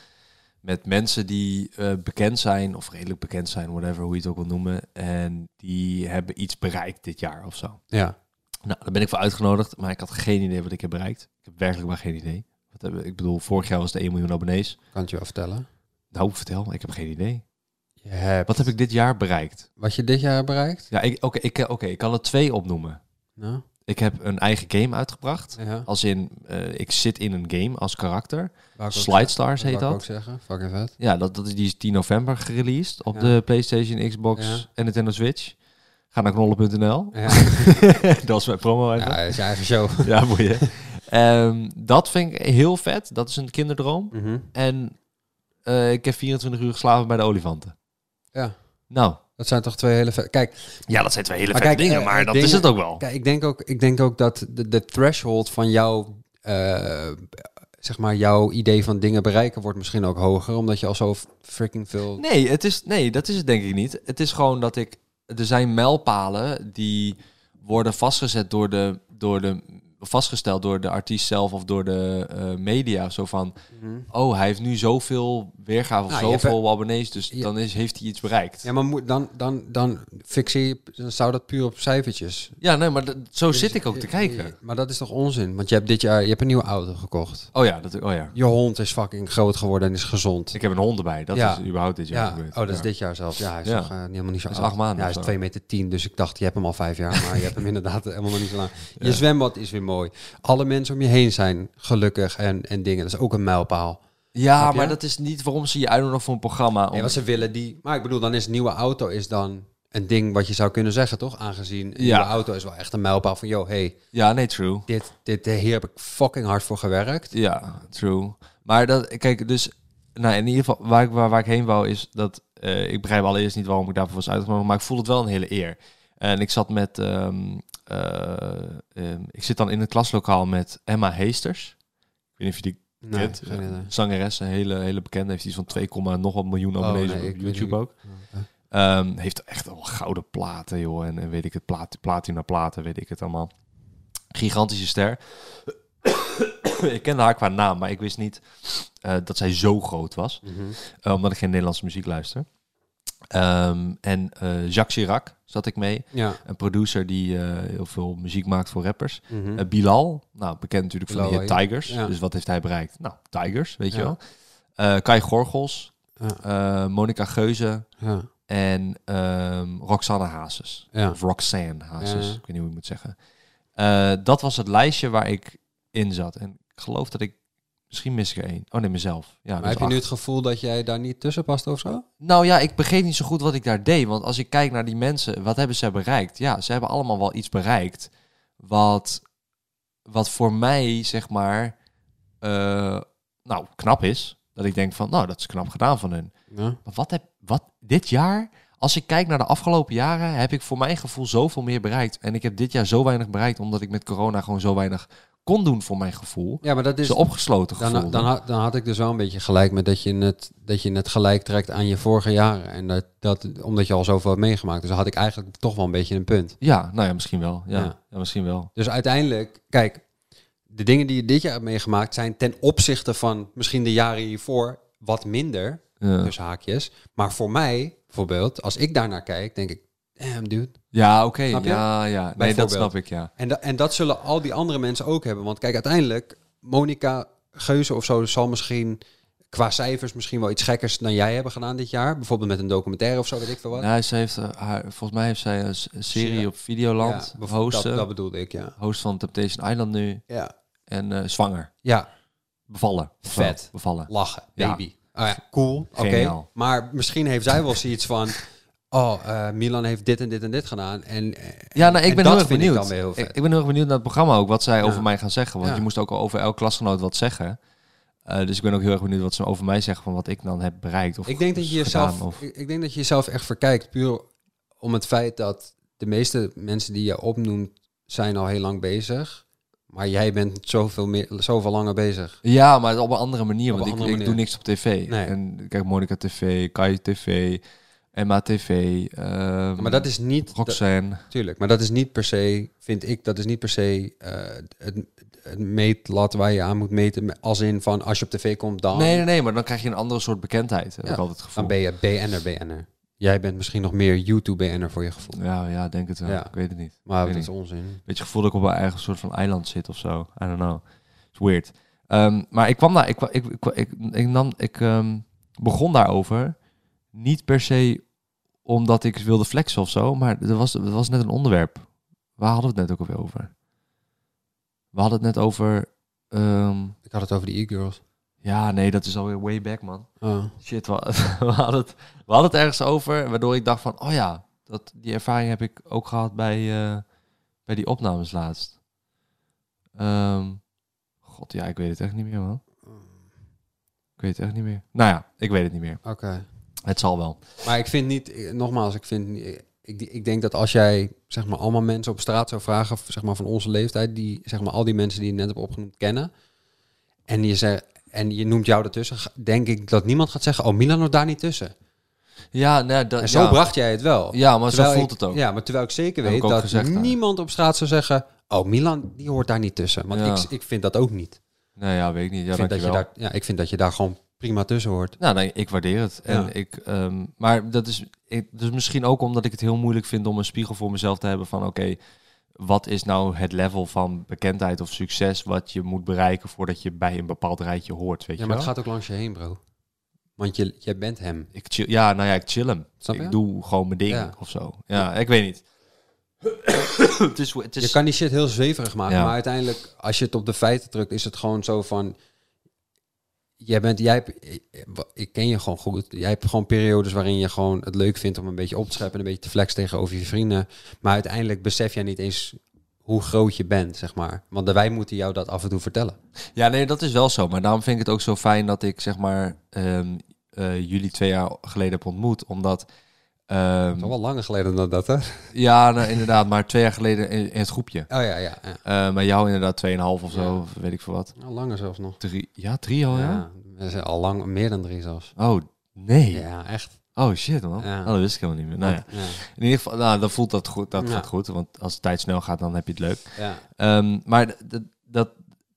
[SPEAKER 2] met mensen die eh, bekend zijn, of redelijk bekend zijn, whatever, hoe je het ook wil noemen. En die hebben iets bereikt dit jaar of zo.
[SPEAKER 3] ja.
[SPEAKER 2] Nou, daar ben ik voor uitgenodigd, maar ik had geen idee wat ik heb bereikt. Ik heb werkelijk maar geen idee. Wat hebben, ik bedoel, vorig jaar was de 1 miljoen abonnees.
[SPEAKER 3] Kan het je wel vertellen.
[SPEAKER 2] Nou, vertel, ik heb geen idee.
[SPEAKER 3] Je hebt,
[SPEAKER 2] Wat heb ik dit jaar bereikt?
[SPEAKER 3] wat je dit jaar hebt bereikt?
[SPEAKER 2] Ja, ik- oké, ik, eh, oké, ik kan er twee opnoemen.
[SPEAKER 3] Nou,
[SPEAKER 2] Ik heb een eigen game uitgebracht.
[SPEAKER 3] ja.
[SPEAKER 2] Als in, eh, ik zit in een game als karakter.
[SPEAKER 3] Wou ik ook
[SPEAKER 2] Slide
[SPEAKER 3] zeggen.
[SPEAKER 2] Stars heet
[SPEAKER 3] Wou ik ook
[SPEAKER 2] dat.
[SPEAKER 3] zeggen. Fucking vet.
[SPEAKER 2] Ja, dat, dat is, die is 10 november gereleased op
[SPEAKER 3] Ja.
[SPEAKER 2] de PlayStation, Xbox
[SPEAKER 3] Ja.
[SPEAKER 2] en Nintendo Switch. Ga naar knollen.nl.
[SPEAKER 3] Ja.
[SPEAKER 2] dat is mijn promo
[SPEAKER 3] ja,
[SPEAKER 2] eigenlijk.
[SPEAKER 3] dat is je eigen show.
[SPEAKER 2] Ja, boeien. Ehm, dat vind ik heel vet. Dat is een kinderdroom.
[SPEAKER 3] Mhm.
[SPEAKER 2] En eh, ik heb 24 uur geslapen bij de olifanten.
[SPEAKER 3] Ja.
[SPEAKER 2] Nou,
[SPEAKER 3] Dat zijn toch twee hele vet. Kijk,
[SPEAKER 2] ja, dat zijn twee hele
[SPEAKER 3] Maar
[SPEAKER 2] vette
[SPEAKER 3] kijk,
[SPEAKER 2] dingen,
[SPEAKER 3] eh,
[SPEAKER 2] maar
[SPEAKER 3] eh,
[SPEAKER 2] dat is
[SPEAKER 3] dingen-
[SPEAKER 2] het ook wel.
[SPEAKER 3] Kijk, ik denk ook, ik denk ook dat de, de threshold van jouw, eh, zeg maar, jouw idee van dingen bereiken wordt misschien ook hoger, omdat je al zo freaking veel.
[SPEAKER 2] Nee, het is, nee, dat is het denk ik niet. Het is gewoon dat ik. Er zijn mijlpalen die worden vastgezet door de. Door de vastgesteld door de artiest zelf of door de eh, media. Zo van. Oh, hij heeft nu zoveel weergave of
[SPEAKER 3] Mhm. Nou, je hebt-
[SPEAKER 2] zoveel abonnees. Dus
[SPEAKER 3] je-
[SPEAKER 2] dan is, heeft hij iets bereikt.
[SPEAKER 3] Ja,
[SPEAKER 2] Ja,
[SPEAKER 3] maar moet, dan, dan, dan fixeer je, dan zou dat puur op cijfertjes.
[SPEAKER 2] nee, maar dat- zo
[SPEAKER 3] Dus-
[SPEAKER 2] zit ik ook te kijken.
[SPEAKER 3] Maar dat is toch onzin? Want je hebt dit jaar, je hebt een nieuwe auto gekocht.
[SPEAKER 2] Oh ja, dat, oh ja.
[SPEAKER 3] Je hond is fucking groot geworden en is gezond.
[SPEAKER 2] Ik heb een hond erbij. Dat
[SPEAKER 3] Ja.
[SPEAKER 2] is überhaupt dit jaar
[SPEAKER 3] Ja,
[SPEAKER 2] gebeurd.
[SPEAKER 3] oh, dat is
[SPEAKER 2] Ja.
[SPEAKER 3] dit jaar zelf. Ja, hij is
[SPEAKER 2] Ja.
[SPEAKER 3] nog eh, helemaal niet zo
[SPEAKER 2] Hij is
[SPEAKER 3] oud.
[SPEAKER 2] acht maanden
[SPEAKER 3] Ja, hij
[SPEAKER 2] of
[SPEAKER 3] is
[SPEAKER 2] zo.
[SPEAKER 3] 2 meter 10, dus ik dacht, je hebt hem al vijf jaar. Maar je hebt hem inderdaad helemaal nog niet zo lang. Je zwembad is weer mooi. Alle mensen om je heen zijn gelukkig en, en dingen. Dat is ook een mijlpaal.
[SPEAKER 2] Ja,
[SPEAKER 3] Snap je?
[SPEAKER 2] maar dat is niet waarom ze je uitnodigen voor een programma.
[SPEAKER 3] En
[SPEAKER 2] Om-
[SPEAKER 3] wat ze willen, die... Maar ik bedoel, dan is een nieuwe auto is dan een ding wat je zou kunnen zeggen, toch? Aangezien een
[SPEAKER 2] Ja.
[SPEAKER 3] nieuwe auto is wel echt een mijlpaal van... Yo, hey,
[SPEAKER 2] Ja, nee, true.
[SPEAKER 3] dit, dit, eh, hier heb ik fucking hard voor gewerkt.
[SPEAKER 2] Ja, true. Maar dat, kijk, dus, nou, in ieder geval, waar ik, waar, waar ik heen wou is dat, eh, ik begrijp allereerst niet waarom ik daarvoor was uitgenodigd, maar ik voel het wel een hele eer. En ik zat met, ehm, eh, ehm, ik zit dan in het klaslokaal met Emma Heesters. Ik weet niet of je die
[SPEAKER 3] Nee,
[SPEAKER 2] kent.
[SPEAKER 3] geen idee.
[SPEAKER 2] Zangeres, een hele, hele bekende, heeft iets van 2, nog wat miljoen
[SPEAKER 3] Oh,
[SPEAKER 2] abonnees
[SPEAKER 3] nee, ik
[SPEAKER 2] op
[SPEAKER 3] weet
[SPEAKER 2] YouTube
[SPEAKER 3] niet. Oh,
[SPEAKER 2] ook. Ehm, heeft echt al gouden platen, joh. En, en weet ik het, plat, platina platen, weet ik het allemaal. Gigantische ster. ik kende haar qua naam, maar ik wist niet eh, dat zij zo groot was.
[SPEAKER 3] Mhm.
[SPEAKER 2] Eh, omdat ik geen Nederlandse muziek luister. Ehm, en eh, Jacques Chirac zat ik mee.
[SPEAKER 3] Ja.
[SPEAKER 2] Een producer die eh, heel veel muziek maakt voor rappers. Eh, Bilal, nou bekend natuurlijk van
[SPEAKER 3] Mhm. Bilal,
[SPEAKER 2] die
[SPEAKER 3] ja.
[SPEAKER 2] Tigers.
[SPEAKER 3] Ja.
[SPEAKER 2] Dus wat heeft hij bereikt? Nou, Tigers, weet
[SPEAKER 3] Ja.
[SPEAKER 2] je wel. Eh, Kai Gorgels,
[SPEAKER 3] Ja.
[SPEAKER 2] eh, Monica Geuze,
[SPEAKER 3] Ja.
[SPEAKER 2] en ehm Roxanne Hazes.
[SPEAKER 3] Ja.
[SPEAKER 2] Of Roxanne Hazes,
[SPEAKER 3] Ja.
[SPEAKER 2] ik weet niet hoe ik moet zeggen. Eh, dat was het lijstje waar ik in zat. En ik geloof dat ik... Misschien mis ik er één. Oh nee, mezelf. Ja,
[SPEAKER 3] Maar
[SPEAKER 2] dus
[SPEAKER 3] heb je nu
[SPEAKER 2] acht.
[SPEAKER 3] het gevoel dat jij daar niet tussen past of zo?
[SPEAKER 2] Nou ja, ik begreep niet zo goed wat ik daar deed. Want als ik kijk naar die mensen, wat hebben ze bereikt? Ja, ze hebben allemaal wel iets bereikt. Wat, wat voor mij, zeg maar, eh, nou, knap is. Dat ik denk van, nou, dat is knap gedaan van hun.
[SPEAKER 3] Ja.
[SPEAKER 2] Maar wat heb wat dit jaar? Als ik kijk naar de afgelopen jaren, heb ik voor mijn gevoel zoveel meer bereikt. En ik heb dit jaar zo weinig bereikt, omdat ik met corona gewoon zo weinig kon doen voor mijn gevoel.
[SPEAKER 3] Ja, maar dat is...
[SPEAKER 2] Zo opgesloten gevoel.
[SPEAKER 3] Dan, dan, had, dan had ik dus wel een beetje gelijk met dat je het, dat je het gelijk trekt aan je vorige jaren. En dat, dat, omdat je al zoveel hebt meegemaakt. Dus dan had ik eigenlijk toch wel een beetje een punt.
[SPEAKER 2] Ja, nou ja, misschien wel. Ja,
[SPEAKER 3] Ja.
[SPEAKER 2] ja. misschien wel.
[SPEAKER 3] Dus uiteindelijk, kijk, de dingen die je dit jaar hebt meegemaakt zijn ten opzichte van misschien de jaren hiervoor wat minder.
[SPEAKER 2] Ja.
[SPEAKER 3] Dus haakjes. Maar voor mij, bijvoorbeeld, als ik daarnaar kijk, denk ik, damn dude.
[SPEAKER 2] Ja, oké.
[SPEAKER 3] Snap je?
[SPEAKER 2] Ja, ja. Nee,
[SPEAKER 3] Bijvoorbeeld.
[SPEAKER 2] dat snap ik, ja.
[SPEAKER 3] En, da- en dat zullen al die andere mensen ook hebben. Want kijk, uiteindelijk, Monica Geuze of zo zal misschien qua cijfers misschien wel iets gekkers dan jij hebben gedaan dit jaar. Bijvoorbeeld met een documentaire of zo, weet ik veel wat.
[SPEAKER 2] Nee, ze heeft, eh, haar, volgens mij heeft zij een s- een serie op Videoland.
[SPEAKER 3] bijvoorbeeld
[SPEAKER 2] host,
[SPEAKER 3] dat,
[SPEAKER 2] eh,
[SPEAKER 3] dat bedoelde ik, ja.
[SPEAKER 2] host van Temptation Island nu.
[SPEAKER 3] Ja,
[SPEAKER 2] En eh, zwanger.
[SPEAKER 3] ja
[SPEAKER 2] Bevallen. of zo.
[SPEAKER 3] Vet.
[SPEAKER 2] Bevallen.
[SPEAKER 3] lachen,
[SPEAKER 2] Ja.
[SPEAKER 3] baby. Ah ja, cool, oké.
[SPEAKER 2] Geniaal.
[SPEAKER 3] Maar misschien heeft zij wel zoiets van... Oh, eh, Milan heeft dit en dit en dit gedaan. En, eh,
[SPEAKER 2] Ja, nou, ik
[SPEAKER 3] en
[SPEAKER 2] ben
[SPEAKER 3] dat
[SPEAKER 2] heel erg
[SPEAKER 3] vind
[SPEAKER 2] benieuwd.
[SPEAKER 3] Ik, dan weer heel
[SPEAKER 2] ik,
[SPEAKER 3] vet.
[SPEAKER 2] ik ben heel erg benieuwd naar het programma ook, wat zij over mij gaan zeggen. Want
[SPEAKER 3] Ja.
[SPEAKER 2] je moest ook al over elk klasgenoot wat zeggen. Eh, dus ik ben ook heel erg benieuwd wat ze over mij zeggen, van wat ik dan heb bereikt. Of
[SPEAKER 3] Ik denk dat je
[SPEAKER 2] gedaan,
[SPEAKER 3] jezelf,
[SPEAKER 2] Of...
[SPEAKER 3] ik, ik denk dat je jezelf echt verkijkt. Puur om het feit dat de meeste mensen die je opnoemt, zijn al heel lang bezig. Maar jij bent zoveel, meer, zoveel langer bezig.
[SPEAKER 2] Ja, maar op een andere manier.
[SPEAKER 3] Op
[SPEAKER 2] want
[SPEAKER 3] een
[SPEAKER 2] ik,
[SPEAKER 3] andere
[SPEAKER 2] ik doe
[SPEAKER 3] manier.
[SPEAKER 2] niks op tv.
[SPEAKER 3] Nee.
[SPEAKER 2] En ik kijk Monica TV, Kai TV, Emma TV, ehm,
[SPEAKER 3] Maar dat is niet. dat-
[SPEAKER 2] Roxanne.
[SPEAKER 3] Tuurlijk, maar dat is niet per se, vind ik, dat is niet per se eh, het, het meetlat waar je aan moet meten. Als in van als je op tv komt, dan,
[SPEAKER 2] Nee, nee, nee, maar dan krijg je een andere soort bekendheid, heb
[SPEAKER 3] Ja,
[SPEAKER 2] ik altijd het gevoel.
[SPEAKER 3] dan ben je BN'er, BN'er. Jij bent misschien nog meer YouTube-BN'er voor je gevoel.
[SPEAKER 2] Ja, ja, denk het wel.
[SPEAKER 3] Ja.
[SPEAKER 2] Ik weet het niet.
[SPEAKER 3] Maar
[SPEAKER 2] weet
[SPEAKER 3] dat is
[SPEAKER 2] niet.
[SPEAKER 3] onzin.
[SPEAKER 2] Beetje gevoel dat ik op mijn eigen soort van eiland zit of zo. I don't know. It's weird. Ehm, maar ik kwam daar, ik, kwa- ik, ik, ik, ik nam, ik ehm, begon daarover niet per se omdat ik wilde flexen of zo, maar er was, er was net een onderwerp. Waar hadden we het net ook alweer over? We hadden het net over, ehm,
[SPEAKER 3] Ik had het over die e-girls.
[SPEAKER 2] ja, nee, dat is alweer way back, man.
[SPEAKER 3] Oh.
[SPEAKER 2] Shit, we, we hadden het, we hadden het ergens over, waardoor ik dacht van, oh ja, dat, die ervaring heb ik ook gehad bij, eh, bij die opnames laatst. Ehm, God, ja, ik weet het echt niet meer, man. Ik weet het echt niet meer. Nou ja, ik weet het niet meer.
[SPEAKER 3] Oké.
[SPEAKER 2] Het zal wel.
[SPEAKER 3] Maar ik vind niet, eh, nogmaals, ik vind, niet- eh, ik, ik denk dat als jij zeg maar allemaal mensen op straat zou vragen, zeg maar van onze leeftijd, die zeg maar al die mensen die je net hebt opgenoemd kennen, en je zegt en je noemt jou ertussen, ga- denk ik dat niemand gaat zeggen, oh Milan nog daar niet tussen.
[SPEAKER 2] Ja, nou, dat,
[SPEAKER 3] En zo
[SPEAKER 2] ja.
[SPEAKER 3] bracht jij het wel.
[SPEAKER 2] Ja, maar zo
[SPEAKER 3] Terwijl
[SPEAKER 2] voelt
[SPEAKER 3] ik-
[SPEAKER 2] het ook.
[SPEAKER 3] Ja, maar terwijl ik zeker
[SPEAKER 2] Heb
[SPEAKER 3] weet
[SPEAKER 2] ik ook
[SPEAKER 3] dat
[SPEAKER 2] gezegd daar.
[SPEAKER 3] niemand op straat zou zeggen, oh Milan die hoort daar niet tussen, want
[SPEAKER 2] Ja.
[SPEAKER 3] ik, ik vind dat ook niet.
[SPEAKER 2] Nou ja, weet ik niet. Ja,
[SPEAKER 3] ik vind dat je
[SPEAKER 2] dankjewel.
[SPEAKER 3] daar, ja, ik vind dat je daar gewoon prima tussen hoort.
[SPEAKER 2] Nou, nee, ik waardeer het. En
[SPEAKER 3] Ja.
[SPEAKER 2] ik, ehm, maar dat is ik, dus misschien ook omdat ik het heel moeilijk vind om een spiegel voor mezelf te hebben van oké, wat is nou het level van bekendheid of succes wat je moet bereiken voordat je bij een bepaald rijtje hoort, weet
[SPEAKER 3] Ja,
[SPEAKER 2] je
[SPEAKER 3] maar
[SPEAKER 2] wel?
[SPEAKER 3] het gaat ook langs je heen, bro. Want je, jij bent hem.
[SPEAKER 2] Ik chill, ja, nou ja, ik chill hem.
[SPEAKER 3] Snap je?
[SPEAKER 2] Ik doe gewoon mijn ding
[SPEAKER 3] Ja.
[SPEAKER 2] of zo. Ja, ik weet niet. het is, het is,
[SPEAKER 3] Je kan die shit heel zweverig maken,
[SPEAKER 2] Dus Ja.
[SPEAKER 3] maar uiteindelijk, als je het op de feiten drukt, is het gewoon zo van... Jij bent, jij, hebt- ik ken je gewoon goed. Jij hebt gewoon periodes waarin je gewoon het leuk vindt om een beetje op te scheppen en een beetje te flex tegenover je vrienden. Maar uiteindelijk besef jij niet eens hoe groot je bent, zeg maar. Want wij moeten jou dat af en toe vertellen.
[SPEAKER 2] Ja, nee, dat is wel zo. Maar daarom vind ik het ook zo fijn dat ik zeg maar ehm, eh, jullie twee jaar geleden heb ontmoet. Omdat ehm,
[SPEAKER 3] Al wel langer geleden dan dat, hè? Oh
[SPEAKER 2] Ja, nou, inderdaad. Maar twee jaar geleden in, in het groepje.
[SPEAKER 3] ja, ja. ja.
[SPEAKER 2] Eh, maar jou inderdaad 2,5 of zo, of weet ik veel wat.
[SPEAKER 3] Al langer zelfs nog.
[SPEAKER 2] Drie, ja, drie al, Oh, ja?
[SPEAKER 3] Ja, we zijn al lang, meer dan drie zelfs.
[SPEAKER 2] Oh, nee.
[SPEAKER 3] Ja, echt.
[SPEAKER 2] Oh, shit, man.
[SPEAKER 3] Ja.
[SPEAKER 2] Oh, dat wist ik helemaal niet meer. Nou, ja.
[SPEAKER 3] Ja,
[SPEAKER 2] In ieder geval, nou, dan voelt dat goed. Dat
[SPEAKER 3] Ja.
[SPEAKER 2] gaat goed, want als de tijd snel gaat, dan heb je het leuk.
[SPEAKER 3] ja.
[SPEAKER 2] Ehm, maar d- d- dat,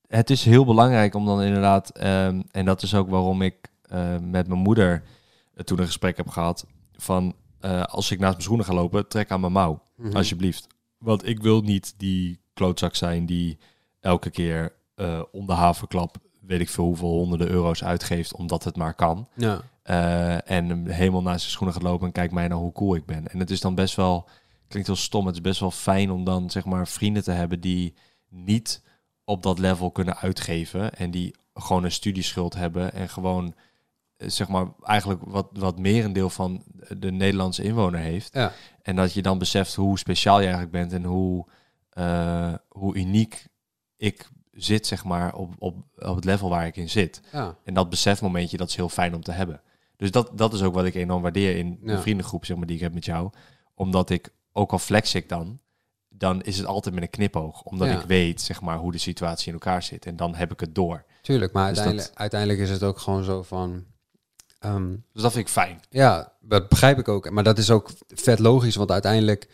[SPEAKER 2] het is heel belangrijk om dan inderdaad, ehm, en dat is ook waarom ik eh, met mijn moeder eh, toen een gesprek heb gehad van eh, als ik naast mijn schoenen ga lopen, trek aan mijn mouw, alsjeblieft. Want ik wil niet die klootzak zijn die elke keer eh om de haverklap weet ik veel hoeveel honderden euro's uitgeeft omdat het maar kan.
[SPEAKER 3] ja.
[SPEAKER 2] Eh, en hem helemaal naast zijn schoenen gaat lopen en kijkt mij naar hoe cool ik ben. En het is dan best wel, klinkt heel stom, het is best wel fijn om dan zeg maar vrienden te hebben die niet op dat level kunnen uitgeven en die gewoon een studieschuld hebben en gewoon eh, zeg maar eigenlijk wat, wat merendeel van de Nederlandse inwoner heeft.
[SPEAKER 3] Ja.
[SPEAKER 2] En dat je dan beseft hoe speciaal je eigenlijk bent en hoe, eh, hoe uniek ik zit zeg maar op, op, op het level waar ik in zit.
[SPEAKER 3] ja.
[SPEAKER 2] En dat besefmomentje, dat is heel fijn om te hebben. Dus dat, dat is ook wat ik enorm waardeer in de
[SPEAKER 3] Ja.
[SPEAKER 2] vriendengroep zeg maar, die ik heb met jou. Omdat ik, ook al flex ik dan, dan is het altijd met een knipoog. Omdat
[SPEAKER 3] Ja.
[SPEAKER 2] ik weet zeg maar, hoe de situatie in elkaar zit. En dan heb ik het door.
[SPEAKER 3] Tuurlijk, maar
[SPEAKER 2] Dus dat-
[SPEAKER 3] uiteindelijk, uiteindelijk is het ook gewoon zo van... ehm,
[SPEAKER 2] Dus dat vind ik fijn.
[SPEAKER 3] ja, dat begrijp ik ook. Maar dat is ook vet logisch, want uiteindelijk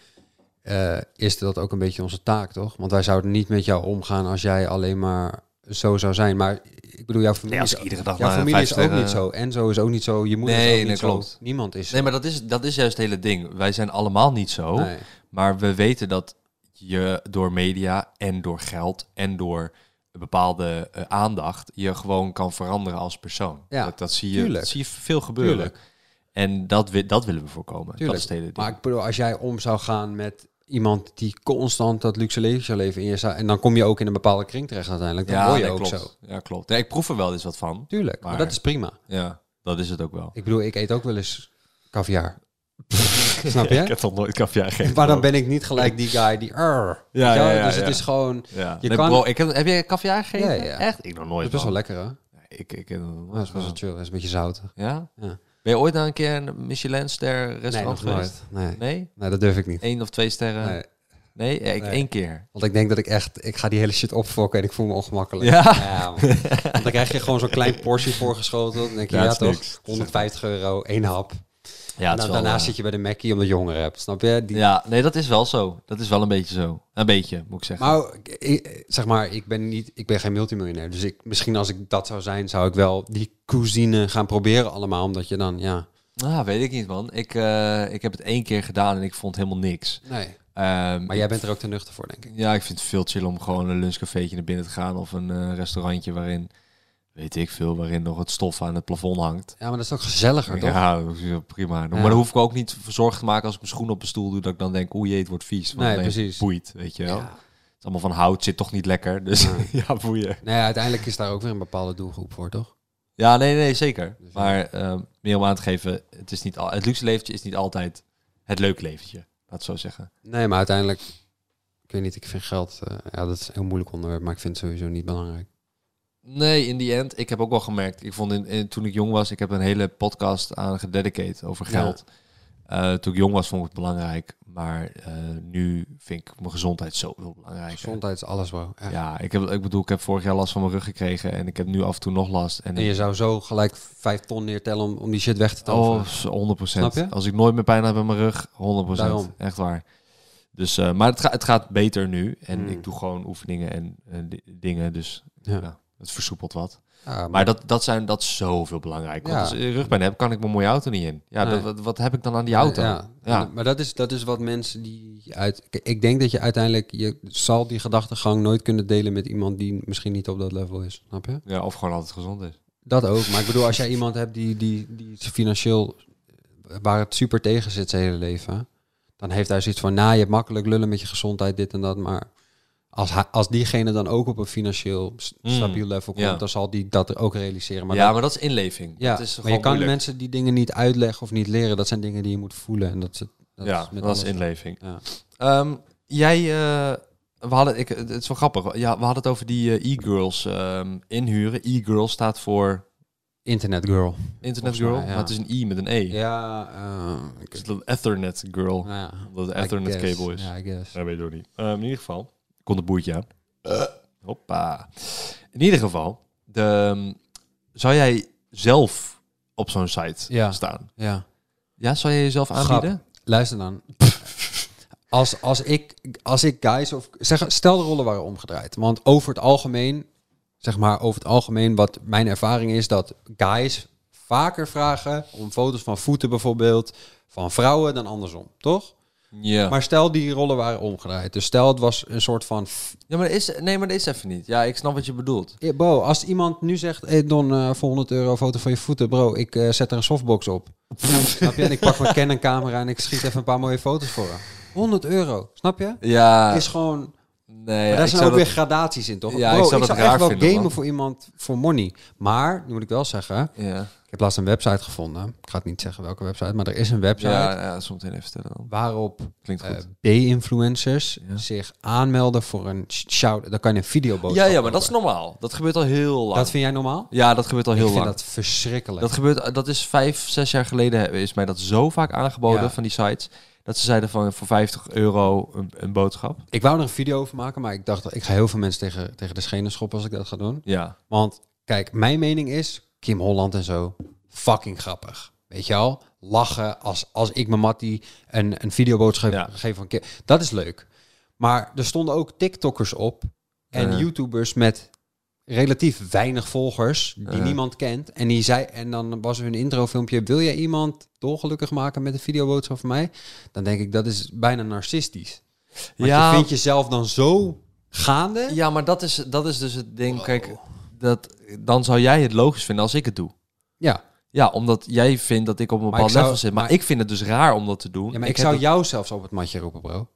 [SPEAKER 3] eh, is dat ook een beetje onze taak, toch? Want wij zouden niet met jou omgaan als jij alleen maar zo zou zijn. Maar ik bedoel, jouw familie,
[SPEAKER 2] Nee, als
[SPEAKER 3] is-
[SPEAKER 2] ik iedere dag
[SPEAKER 3] jouw
[SPEAKER 2] maar
[SPEAKER 3] familie
[SPEAKER 2] vijf
[SPEAKER 3] is ook
[SPEAKER 2] sterren-
[SPEAKER 3] niet zo. Enzo is ook niet zo. Je moeder
[SPEAKER 2] Nee,
[SPEAKER 3] is ook
[SPEAKER 2] nee,
[SPEAKER 3] niet
[SPEAKER 2] klopt.
[SPEAKER 3] zo. Niemand is
[SPEAKER 2] Nee, maar dat is, dat is juist het hele ding. Wij zijn allemaal niet zo.
[SPEAKER 3] Nee.
[SPEAKER 2] Maar we weten dat je door media en door geld en door een bepaalde eh, aandacht je gewoon kan veranderen als persoon.
[SPEAKER 3] Ja,
[SPEAKER 2] dat, dat, zie je,
[SPEAKER 3] tuurlijk.
[SPEAKER 2] dat zie je veel gebeuren.
[SPEAKER 3] Tuurlijk.
[SPEAKER 2] En dat, wi- dat willen we voorkomen. Dat is
[SPEAKER 3] Tuurlijk.
[SPEAKER 2] het hele ding.
[SPEAKER 3] maar ik bedoel, als jij om zou gaan met iemand die constant dat luxe leven zou leven in je zou, en dan kom je ook in een bepaalde kring terecht uiteindelijk, dan
[SPEAKER 2] ja,
[SPEAKER 3] word je
[SPEAKER 2] nee,
[SPEAKER 3] ook
[SPEAKER 2] klopt.
[SPEAKER 3] zo.
[SPEAKER 2] Ja, klopt. Nee, ik proef er wel eens wat van.
[SPEAKER 3] Tuurlijk, maar,
[SPEAKER 2] Maar-
[SPEAKER 3] dat is prima.
[SPEAKER 2] Ja, dat is het ook wel.
[SPEAKER 3] Ik bedoel, ik eet ook wel eens caviar. Snap je?
[SPEAKER 2] nog nooit kaviaar gegeten.
[SPEAKER 3] Maar dan ben ik niet gelijk die guy die... "Arr." Weet je wel?
[SPEAKER 2] ja, ja,
[SPEAKER 3] dus het
[SPEAKER 2] ja.
[SPEAKER 3] is gewoon...
[SPEAKER 2] Ja.
[SPEAKER 3] Je
[SPEAKER 2] nee,
[SPEAKER 3] kan-
[SPEAKER 2] bro, ik heb, heb jij kaviaar gegeten?
[SPEAKER 3] Ja, ja.
[SPEAKER 2] Echt? Ik nog nooit.
[SPEAKER 3] Dat is best wel
[SPEAKER 2] man.
[SPEAKER 3] lekker, hè?
[SPEAKER 2] Ik, ik, heb nog nooit,
[SPEAKER 3] Dat is best wel
[SPEAKER 2] man.
[SPEAKER 3] chill. Dat is een beetje zoutig.
[SPEAKER 2] Ja?
[SPEAKER 3] Ja.
[SPEAKER 2] Ben je ooit naar een keer een Michelinster
[SPEAKER 3] Nee,
[SPEAKER 2] restaurant
[SPEAKER 3] nog
[SPEAKER 2] geweest?
[SPEAKER 3] nooit. Nee. nee.
[SPEAKER 2] Nee?
[SPEAKER 3] dat durf ik niet.
[SPEAKER 2] Eén of twee sterren?
[SPEAKER 3] Nee.
[SPEAKER 2] Nee, Ja, ik
[SPEAKER 3] Nee.
[SPEAKER 2] één keer.
[SPEAKER 3] Want ik denk dat ik echt... Ik ga die hele shit opfokken en ik voel me ongemakkelijk.
[SPEAKER 2] Ja?
[SPEAKER 3] man. Want dan krijg je gewoon zo'n klein portie voorgeschoten. Dan denk je,
[SPEAKER 2] Ja,
[SPEAKER 3] ja,
[SPEAKER 2] het is
[SPEAKER 3] toch?
[SPEAKER 2] niks.
[SPEAKER 3] 150 euro, één hap.
[SPEAKER 2] Ja,
[SPEAKER 3] en dan, daarna Nou, zit je bij de Mackie omdat je honger hebt. Snap je? Die,
[SPEAKER 2] Ja, nee, dat is wel zo. Dat is wel een beetje zo. Een beetje, moet ik zeggen.
[SPEAKER 3] Maar ik- zeg maar, ik ben, niet, ik ben geen multimiljonair. Dus ik, misschien als ik dat zou zijn, zou ik wel die cuisine gaan proberen allemaal. Omdat je dan, ja...
[SPEAKER 2] Nou, weet ik niet, man. Ik, eh, ik heb het één keer gedaan en ik vond helemaal niks.
[SPEAKER 3] Nee.
[SPEAKER 2] Ehm,
[SPEAKER 3] Maar jij bent er ook te nuchter voor, denk ik.
[SPEAKER 2] Ja, ik vind het veel chill om gewoon een lunchcafeetje naar binnen te gaan of een eh, restaurantje waarin, weet ik veel, waarin nog het stof aan het plafond hangt.
[SPEAKER 3] Ja, maar dat is ook gezelliger, toch?
[SPEAKER 2] Ja, dat is wel prima.
[SPEAKER 3] Ja.
[SPEAKER 2] Maar dan hoef ik ook niet voor zorgen te maken als ik mijn schoen op mijn stoel doe, dat ik dan denk, oei, jee, het wordt vies. Want
[SPEAKER 3] Nee,
[SPEAKER 2] nee,
[SPEAKER 3] precies.
[SPEAKER 2] boeit, weet je wel.
[SPEAKER 3] Ja.
[SPEAKER 2] Het is allemaal van hout, zit toch niet lekker, dus ja, boeien.
[SPEAKER 3] Nou ja, uiteindelijk is daar ook weer een bepaalde doelgroep voor, toch?
[SPEAKER 2] Ja, nee, nee, zeker. Maar ehm, meer om aan te geven, het, is niet al, het luxe leventje is niet altijd het leuk leventje, laat het zo zeggen.
[SPEAKER 3] Nee, maar uiteindelijk... Ik weet niet, ik vind geld... eh, ja, dat is een heel moeilijk onderwerp, maar ik vind het sowieso niet belangrijk.
[SPEAKER 2] Nee, in die end. Ik heb ook wel gemerkt. Ik vond in, in- toen ik jong was, ik heb een hele podcast aan gededicate over
[SPEAKER 3] Ja.
[SPEAKER 2] geld. Eh, toen ik jong was, vond ik het belangrijk. Maar eh, nu vind ik mijn gezondheid zoveel belangrijker.
[SPEAKER 3] Gezondheid is alles, bro. Echt.
[SPEAKER 2] Ja, ik, heb, ik bedoel, ik heb vorig jaar last van mijn rug gekregen. En ik heb nu af en toe nog last. En,
[SPEAKER 3] En je zou zo gelijk vijf ton neertellen om, om die shit weg te
[SPEAKER 2] Oh,
[SPEAKER 3] toveren.
[SPEAKER 2] 100
[SPEAKER 3] Snap je?
[SPEAKER 2] Als ik nooit meer pijn heb aan mijn rug, 100
[SPEAKER 3] Daarom.
[SPEAKER 2] Echt waar. Dus, eh, maar het, ga- het gaat beter nu. En
[SPEAKER 3] Hmm.
[SPEAKER 2] ik doe gewoon oefeningen en eh, di- dingen. Dus
[SPEAKER 3] Ja.
[SPEAKER 2] ja, het versoepelt wat.
[SPEAKER 3] Ja, maar,
[SPEAKER 2] Maar dat, dat, zijn, dat is zoveel belangrijk. Want
[SPEAKER 3] Ja.
[SPEAKER 2] als ik rugpijn heb, kan ik mijn mooie auto niet in. Ja,
[SPEAKER 3] Nee.
[SPEAKER 2] dat- wat, wat heb ik dan aan die auto?
[SPEAKER 3] Ja,
[SPEAKER 2] Ja.
[SPEAKER 3] En- maar dat is, dat is wat mensen die uit... Kijk, Ik denk dat je uiteindelijk... Je zal die gedachtegang nooit kunnen delen met iemand die misschien niet op dat level is. Snap je?
[SPEAKER 2] Ja, of gewoon altijd gezond is.
[SPEAKER 3] Dat ook. Maar ik bedoel, als jij iemand hebt die, die, die financieel eh, waar het super tegen zit zijn hele leven, dan heeft hij zoiets van, nou, je hebt makkelijk lullen met je gezondheid, dit en dat. Maar als, hij- als diegene dan ook op een financieel s-
[SPEAKER 2] Mm,
[SPEAKER 3] stabiel level komt,
[SPEAKER 2] ja.
[SPEAKER 3] dan zal die dat ook realiseren. Maar
[SPEAKER 2] ja,
[SPEAKER 3] dan-
[SPEAKER 2] maar dat is inleving.
[SPEAKER 3] ja,
[SPEAKER 2] dat is
[SPEAKER 3] maar
[SPEAKER 2] gewoon
[SPEAKER 3] je kan
[SPEAKER 2] moeilijk.
[SPEAKER 3] mensen die dingen niet uitleggen of niet leren. Dat zijn dingen die je moet voelen. En dat is, het- dat
[SPEAKER 2] ja,
[SPEAKER 3] is met
[SPEAKER 2] dat is
[SPEAKER 3] alles.
[SPEAKER 2] inleving.
[SPEAKER 3] Ja.
[SPEAKER 2] Ehm, jij, eh, we hadden, ik, het is wel grappig. Ja, we hadden het over die eh, e-girls ehm, inhuren. E-girl staat voor
[SPEAKER 3] Internet girl.
[SPEAKER 2] internet
[SPEAKER 3] Volgens
[SPEAKER 2] girl,
[SPEAKER 3] mij, ja.
[SPEAKER 2] maar het is een i met een e.
[SPEAKER 3] Ja, eh, ik-
[SPEAKER 2] Het is de ethernet girl,
[SPEAKER 3] nou ja,
[SPEAKER 2] omdat het
[SPEAKER 3] I
[SPEAKER 2] ethernet
[SPEAKER 3] guess.
[SPEAKER 2] cable is.
[SPEAKER 3] Ja, I guess.
[SPEAKER 2] Dat weet ik ook niet. Eh, in ieder geval, ik kon de boertje aan. Eh. Hoppa. In ieder geval, de, ehm, zou jij zelf op zo'n site
[SPEAKER 3] Ja.
[SPEAKER 2] staan?
[SPEAKER 3] Ja.
[SPEAKER 2] Ja, zou jij jezelf aanbieden?
[SPEAKER 3] Luister dan. Als, als, ik, als ik guys of... Zeg, stel de rollen waren omgedraaid. Want over het algemeen, zeg maar over het algemeen, wat mijn ervaring is, dat guys vaker vragen om foto's van voeten bijvoorbeeld, van vrouwen dan andersom, toch?
[SPEAKER 2] Ja. Maar,
[SPEAKER 3] Maar stel die rollen waren omgedraaid. Dus stel het was een soort van... f-
[SPEAKER 2] ja, maar dat is, nee, maar dat is even niet. Ja, ik snap wat je bedoelt.
[SPEAKER 3] Eh, Bro, als iemand nu zegt, hey Don, eh, voor 100 euro foto van je voeten, bro, ik eh, zet er een softbox op. snap je? En ik pak mijn Canon camera en ik schiet even een paar mooie foto's voor hem. 100 euro, snap je?
[SPEAKER 2] Ja,
[SPEAKER 3] is gewoon.
[SPEAKER 2] nee,
[SPEAKER 3] maar
[SPEAKER 2] ja,
[SPEAKER 3] daar
[SPEAKER 2] ik
[SPEAKER 3] zijn
[SPEAKER 2] zou
[SPEAKER 3] ook weer
[SPEAKER 2] dat,
[SPEAKER 3] gradaties in, toch?
[SPEAKER 2] Ja,
[SPEAKER 3] Bro,
[SPEAKER 2] ik zou dat
[SPEAKER 3] echt
[SPEAKER 2] raar
[SPEAKER 3] wel
[SPEAKER 2] vinden,
[SPEAKER 3] gamen
[SPEAKER 2] man.
[SPEAKER 3] voor iemand voor money. Maar, nu moet ik wel zeggen,
[SPEAKER 2] ja.
[SPEAKER 3] ik heb laatst een website gevonden. Ik ga het niet zeggen welke website, maar er is een website
[SPEAKER 2] Ja, ja, zometeen even vertellen dan.
[SPEAKER 3] waarop eh,
[SPEAKER 2] Klinkt goed.
[SPEAKER 3] B-influencers
[SPEAKER 2] Ja.
[SPEAKER 3] zich aanmelden voor een sh- shout. Dan kan je een videoboodschap.
[SPEAKER 2] ja, ja, maar dat is
[SPEAKER 3] horen.
[SPEAKER 2] normaal. Dat gebeurt al heel lang.
[SPEAKER 3] Dat vind jij normaal?
[SPEAKER 2] Ja, dat gebeurt al heel
[SPEAKER 3] ik vind
[SPEAKER 2] lang.
[SPEAKER 3] dat verschrikkelijk.
[SPEAKER 2] Dat gebeurt, dat is vijf, zes jaar geleden is mij dat zo vaak aangeboden
[SPEAKER 3] Ja.
[SPEAKER 2] van die sites. Dat ze zeiden van voor 50 euro een, een boodschap.
[SPEAKER 3] ik wou er een video over maken, maar ik dacht, ik ga heel veel mensen tegen, tegen de schenen schoppen als ik dat ga doen.
[SPEAKER 2] Ja.
[SPEAKER 3] Want kijk, mijn mening is Kim Holland en zo fucking grappig. Weet je al? Lachen als, als ik mijn Mattie een, een videoboodschap
[SPEAKER 2] Ja.
[SPEAKER 3] geef van Kim. Dat is leuk. Maar er stonden ook TikTokkers op en
[SPEAKER 2] Eh.
[SPEAKER 3] YouTubers met relatief weinig volgers die
[SPEAKER 2] Eh.
[SPEAKER 3] niemand kent. En, die zei, en dan was er een introfilmpje. Wil jij iemand dolgelukkig maken met een videoboodschap van mij? Dan denk ik, dat is bijna narcistisch. Want
[SPEAKER 2] Ja.
[SPEAKER 3] je vindt jezelf dan zo gaande.
[SPEAKER 2] Ja, maar dat is, dat is dus het ding. Kijk, dat, dan zou jij het logisch vinden als ik het doe.
[SPEAKER 3] Ja.
[SPEAKER 2] Ja, omdat jij vindt dat ik op een
[SPEAKER 3] ik
[SPEAKER 2] bepaald
[SPEAKER 3] zou-
[SPEAKER 2] level zit. Maar,
[SPEAKER 3] maar-
[SPEAKER 2] ik vind het dus raar om dat te doen.
[SPEAKER 3] Ja, maar ik,
[SPEAKER 2] heb
[SPEAKER 3] zou
[SPEAKER 2] het-
[SPEAKER 3] jou zelfs op het matje roepen, bro.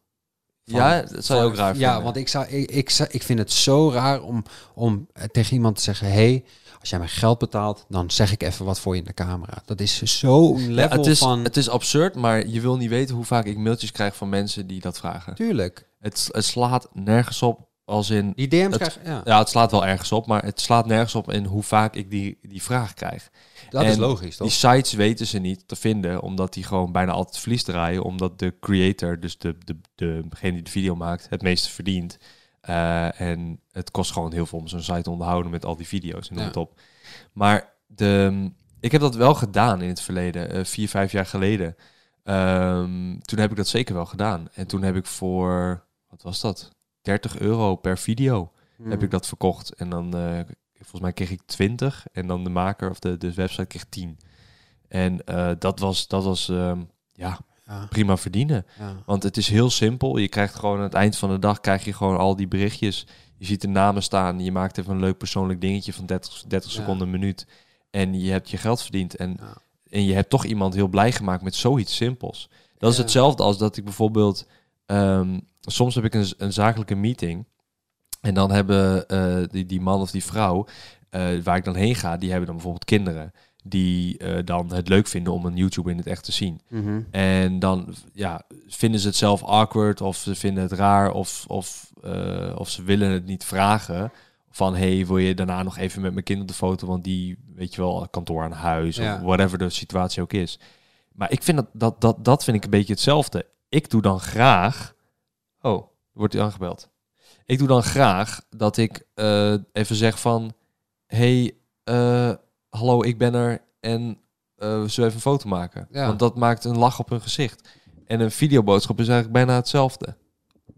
[SPEAKER 2] Ja, dat zou je ook raar vinden.
[SPEAKER 3] Ja, want ik, zou, ik, ik, zou- ik vind het zo raar om, om eh, tegen iemand te zeggen... hey, als jij mij geld betaalt, dan zeg ik even wat voor je in de camera. Dat is zo'n
[SPEAKER 2] Ja,
[SPEAKER 3] level
[SPEAKER 2] het, is,
[SPEAKER 3] van...
[SPEAKER 2] het is absurd, maar je wil niet weten hoe vaak ik mailtjes krijg van mensen die dat vragen.
[SPEAKER 3] Tuurlijk.
[SPEAKER 2] Het, het slaat nergens op als in...
[SPEAKER 3] Die DM's
[SPEAKER 2] Het-
[SPEAKER 3] krijg Ja,
[SPEAKER 2] Ja, het slaat wel ergens op, maar het slaat nergens op in hoe vaak ik die, die vraag krijg.
[SPEAKER 3] dat is
[SPEAKER 2] En
[SPEAKER 3] logisch, toch?
[SPEAKER 2] Die sites weten ze niet te vinden, omdat die gewoon bijna altijd verlies draaien. Omdat de creator, dus de, de, de, degene die de video maakt, het meeste verdient. Eh, en het kost gewoon heel veel om zo'n site te onderhouden met al die video's en noem
[SPEAKER 3] Ja.
[SPEAKER 2] het op. Maar de, ik heb dat wel gedaan in het verleden, eh, vier, vijf jaar geleden. Ehm, toen heb ik dat zeker wel gedaan. En toen heb ik voor, wat was dat? 30 euro per video
[SPEAKER 3] Hmm.
[SPEAKER 2] heb ik dat verkocht. En dan, eh, volgens mij kreeg ik 20. En dan de maker of de, de website kreeg 10. En eh, dat was, dat was ehm, ja,
[SPEAKER 3] Ja,
[SPEAKER 2] prima verdienen.
[SPEAKER 3] ja.
[SPEAKER 2] Want het is heel simpel. Je krijgt gewoon aan het eind van de dag krijg je gewoon al die berichtjes. Je ziet de namen staan. Je maakt even een leuk persoonlijk dingetje van 30, 30
[SPEAKER 3] Ja.
[SPEAKER 2] seconden, een minuut. En je hebt je geld verdiend. En,
[SPEAKER 3] Ja.
[SPEAKER 2] en je hebt toch iemand heel blij gemaakt met zoiets simpels. Dat is
[SPEAKER 3] Ja.
[SPEAKER 2] hetzelfde als dat ik bijvoorbeeld... ehm, soms heb ik een, een zakelijke meeting. En dan hebben eh, die, die man of die vrouw, eh, waar ik dan heen ga, die hebben dan bijvoorbeeld kinderen. Die eh, dan het leuk vinden om een YouTube in het echt te zien.
[SPEAKER 3] Mhm.
[SPEAKER 2] En dan ja, vinden ze het zelf awkward of ze vinden het raar of, of, eh, of ze willen het niet vragen. Van hey, wil je daarna nog even met mijn kind op de foto? Want die, weet je wel, kantoor aan huis
[SPEAKER 3] Ja.
[SPEAKER 2] of whatever de situatie ook is. Maar ik vind dat, dat, dat, dat vind ik een beetje hetzelfde. Ik doe dan graag. Oh, wordt u aangebeld? Ik doe dan graag dat ik eh, even zeg van hey, eh, hallo, ik ben er en eh we zullen even een foto maken.
[SPEAKER 3] Ja.
[SPEAKER 2] Want dat maakt een lach op hun gezicht. En een videoboodschap is eigenlijk bijna hetzelfde.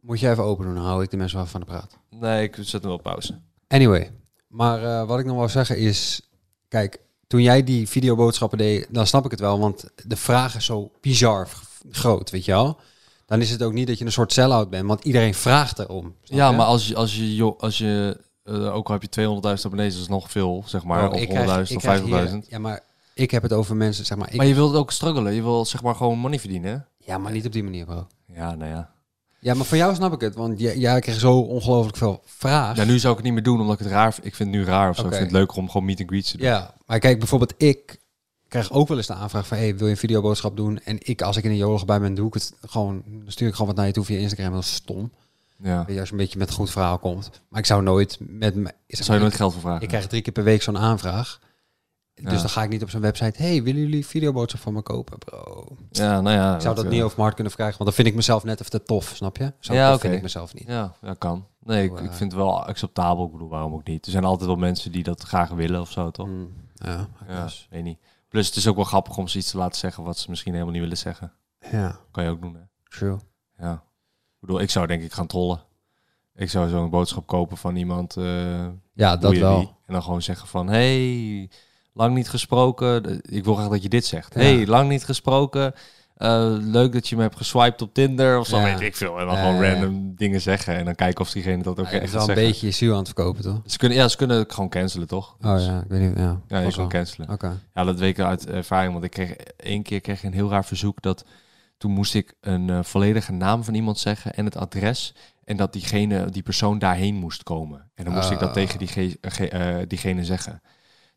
[SPEAKER 3] Moet jij even open doen, dan hou ik de mensen wel van de praat.
[SPEAKER 2] Nee, ik zet hem op pauze.
[SPEAKER 3] Anyway, maar eh, wat ik nog wil zeggen is... Kijk, toen jij die videoboodschappen deed, dan snap ik het wel. Want de vraag is zo bizar v- groot, weet je wel? Dan is het ook niet dat je een soort sell-out bent, want iedereen vraagt erom. snap
[SPEAKER 2] Ja,
[SPEAKER 3] je?
[SPEAKER 2] maar als je, als je, jo- als je eh, ook al heb je 200.000 abonnees, dat is nog veel, zeg maar.
[SPEAKER 3] Bro,
[SPEAKER 2] of 100.000
[SPEAKER 3] Oh, ik krijg- ik
[SPEAKER 2] of
[SPEAKER 3] krijg
[SPEAKER 2] 50.000.
[SPEAKER 3] hier- Ja, maar ik heb het over mensen, zeg maar. Ik,
[SPEAKER 2] Maar je wilt ook struggelen. Je wil zeg maar gewoon money verdienen.
[SPEAKER 3] ja, maar niet op die manier, bro.
[SPEAKER 2] hè? Ja, nou ja.
[SPEAKER 3] Ja, maar voor jou snap ik het, want jij, jij kreeg zo ongelooflijk veel vragen.
[SPEAKER 2] Ja, nu zou ik het niet meer doen, omdat ik het raar vind. Ik vind het nu raar of zo.
[SPEAKER 3] Oké.
[SPEAKER 2] Ik vind het leuker om gewoon meet and greets te doen.
[SPEAKER 3] Ja, maar kijk, bijvoorbeeld ik krijg ook wel eens de aanvraag van... Hey, wil je een videoboodschap doen? En ik, als ik in een jolige bij ben, doe ik het gewoon... Dan stuur ik gewoon wat naar je toe via Instagram. Dat is stom.
[SPEAKER 2] Ja.
[SPEAKER 3] Weet je, als je een beetje met een goed verhaal komt. Maar ik zou nooit met... me-
[SPEAKER 2] Zou
[SPEAKER 3] zeg
[SPEAKER 2] je
[SPEAKER 3] maar,
[SPEAKER 2] nooit geld voor vragen?
[SPEAKER 3] Ik krijg drie keer per week zo'n aanvraag. Dus
[SPEAKER 2] Ja.
[SPEAKER 3] dan ga ik niet op zo'n website... Hey, willen jullie videoboodschap van me kopen, bro?
[SPEAKER 2] Ja, nou ja.
[SPEAKER 3] Ik zou dat
[SPEAKER 2] eh,
[SPEAKER 3] niet over mijn hart kunnen vragen, want dan vind ik mezelf net even te tof, snap je? Zo
[SPEAKER 2] Ja,
[SPEAKER 3] tof
[SPEAKER 2] oké.
[SPEAKER 3] vind ik mezelf niet.
[SPEAKER 2] Ja, dat kan. Nee, ik,
[SPEAKER 3] Oh,
[SPEAKER 2] ik
[SPEAKER 3] eh.
[SPEAKER 2] vind het wel acceptabel. Ik bedoel, waarom ook niet? Er zijn altijd wel mensen die dat graag willen of zo, toch?
[SPEAKER 3] Mm, ja, I
[SPEAKER 2] Ja,
[SPEAKER 3] guess.
[SPEAKER 2] weet niet. Plus, het is ook wel grappig om ze iets te laten zeggen wat ze misschien helemaal niet willen zeggen.
[SPEAKER 3] ja,
[SPEAKER 2] Kan je ook doen, hè?
[SPEAKER 3] true.
[SPEAKER 2] Ja. Ik bedoel, ik zou denk ik gaan trollen. Ik zou zo'n boodschap kopen van iemand, eh,
[SPEAKER 3] Ja, dat
[SPEAKER 2] boeien
[SPEAKER 3] wel.
[SPEAKER 2] wie. En dan gewoon zeggen van, hey, lang niet gesproken. De- Ik wil graag dat je dit zegt.
[SPEAKER 3] Ja.
[SPEAKER 2] hey, lang niet gesproken. Eh, leuk dat je me hebt geswiped op Tinder of zo,
[SPEAKER 3] Ja.
[SPEAKER 2] weet ik veel. En dan
[SPEAKER 3] Ja,
[SPEAKER 2] gewoon
[SPEAKER 3] ja, ja.
[SPEAKER 2] random dingen zeggen. En dan kijken of diegene dat ook
[SPEAKER 3] Ja, dat
[SPEAKER 2] echt
[SPEAKER 3] is wel een
[SPEAKER 2] zegt.
[SPEAKER 3] beetje je ziel aan het verkopen, toch?
[SPEAKER 2] Ze kunnen, ja, ze kunnen het gewoon cancelen, toch?
[SPEAKER 3] Oh
[SPEAKER 2] Dus-
[SPEAKER 3] ja, ik weet niet. Ja,
[SPEAKER 2] Ja, je
[SPEAKER 3] vast
[SPEAKER 2] kan
[SPEAKER 3] wel.
[SPEAKER 2] cancelen.
[SPEAKER 3] Oké.
[SPEAKER 2] Ja, dat weet ik uit ervaring. Want ik kreeg één keer kreeg ik een heel raar verzoek dat toen moest ik een eh, volledige naam van iemand zeggen en het adres. En dat diegene, die persoon daarheen moest komen. En dan moest ik dat
[SPEAKER 3] Ah.
[SPEAKER 2] tegen die ge- ge- eh, diegene zeggen.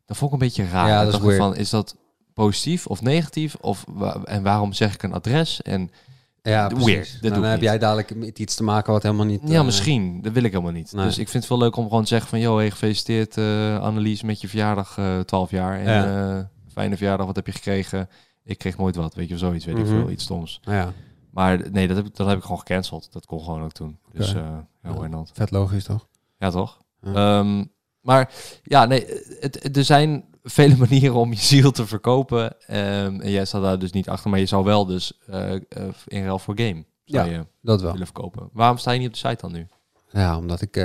[SPEAKER 2] Dat vond ik een beetje raar.
[SPEAKER 3] Ja,
[SPEAKER 2] Dan
[SPEAKER 3] dat is
[SPEAKER 2] dacht ik
[SPEAKER 3] weird.
[SPEAKER 2] van, is dat positief of negatief? Of wa- en waarom zeg ik een adres? En
[SPEAKER 3] Ja,
[SPEAKER 2] Weird,
[SPEAKER 3] precies.
[SPEAKER 2] dat
[SPEAKER 3] Nou,
[SPEAKER 2] doe ik
[SPEAKER 3] dan heb
[SPEAKER 2] niet.
[SPEAKER 3] jij dadelijk met iets te maken wat helemaal niet...
[SPEAKER 2] ja,
[SPEAKER 3] eh,
[SPEAKER 2] misschien. Dat wil ik helemaal niet.
[SPEAKER 3] Nee.
[SPEAKER 2] Dus ik vind het wel leuk om gewoon te zeggen van... joh, hey, gefeliciteerd eh Annelies met je verjaardag, eh 12 jaar. En
[SPEAKER 3] Ja.
[SPEAKER 2] eh, fijne verjaardag, wat heb je gekregen? Ik kreeg nooit wat, weet je, of zoiets, weet
[SPEAKER 3] Mhm.
[SPEAKER 2] ik veel, iets stoms.
[SPEAKER 3] Ja,
[SPEAKER 2] Maar nee, dat heb, ik, dat heb ik gewoon gecanceld. Dat kon gewoon ook toen. Dus
[SPEAKER 3] Oké.
[SPEAKER 2] eh ja, why not?
[SPEAKER 3] vet logisch, toch?
[SPEAKER 2] Ja, toch?
[SPEAKER 3] Ja.
[SPEAKER 2] Ehm, maar ja, nee, het, het- er zijn vele manieren om je ziel te verkopen. Ehm, en jij staat daar dus niet achter, maar je zou wel dus eh, eh, in ruil voor game zou
[SPEAKER 3] Ja.
[SPEAKER 2] je
[SPEAKER 3] Dat wel.
[SPEAKER 2] willen verkopen. Waarom sta je niet op de site dan nu?
[SPEAKER 3] Ja, omdat ik... eh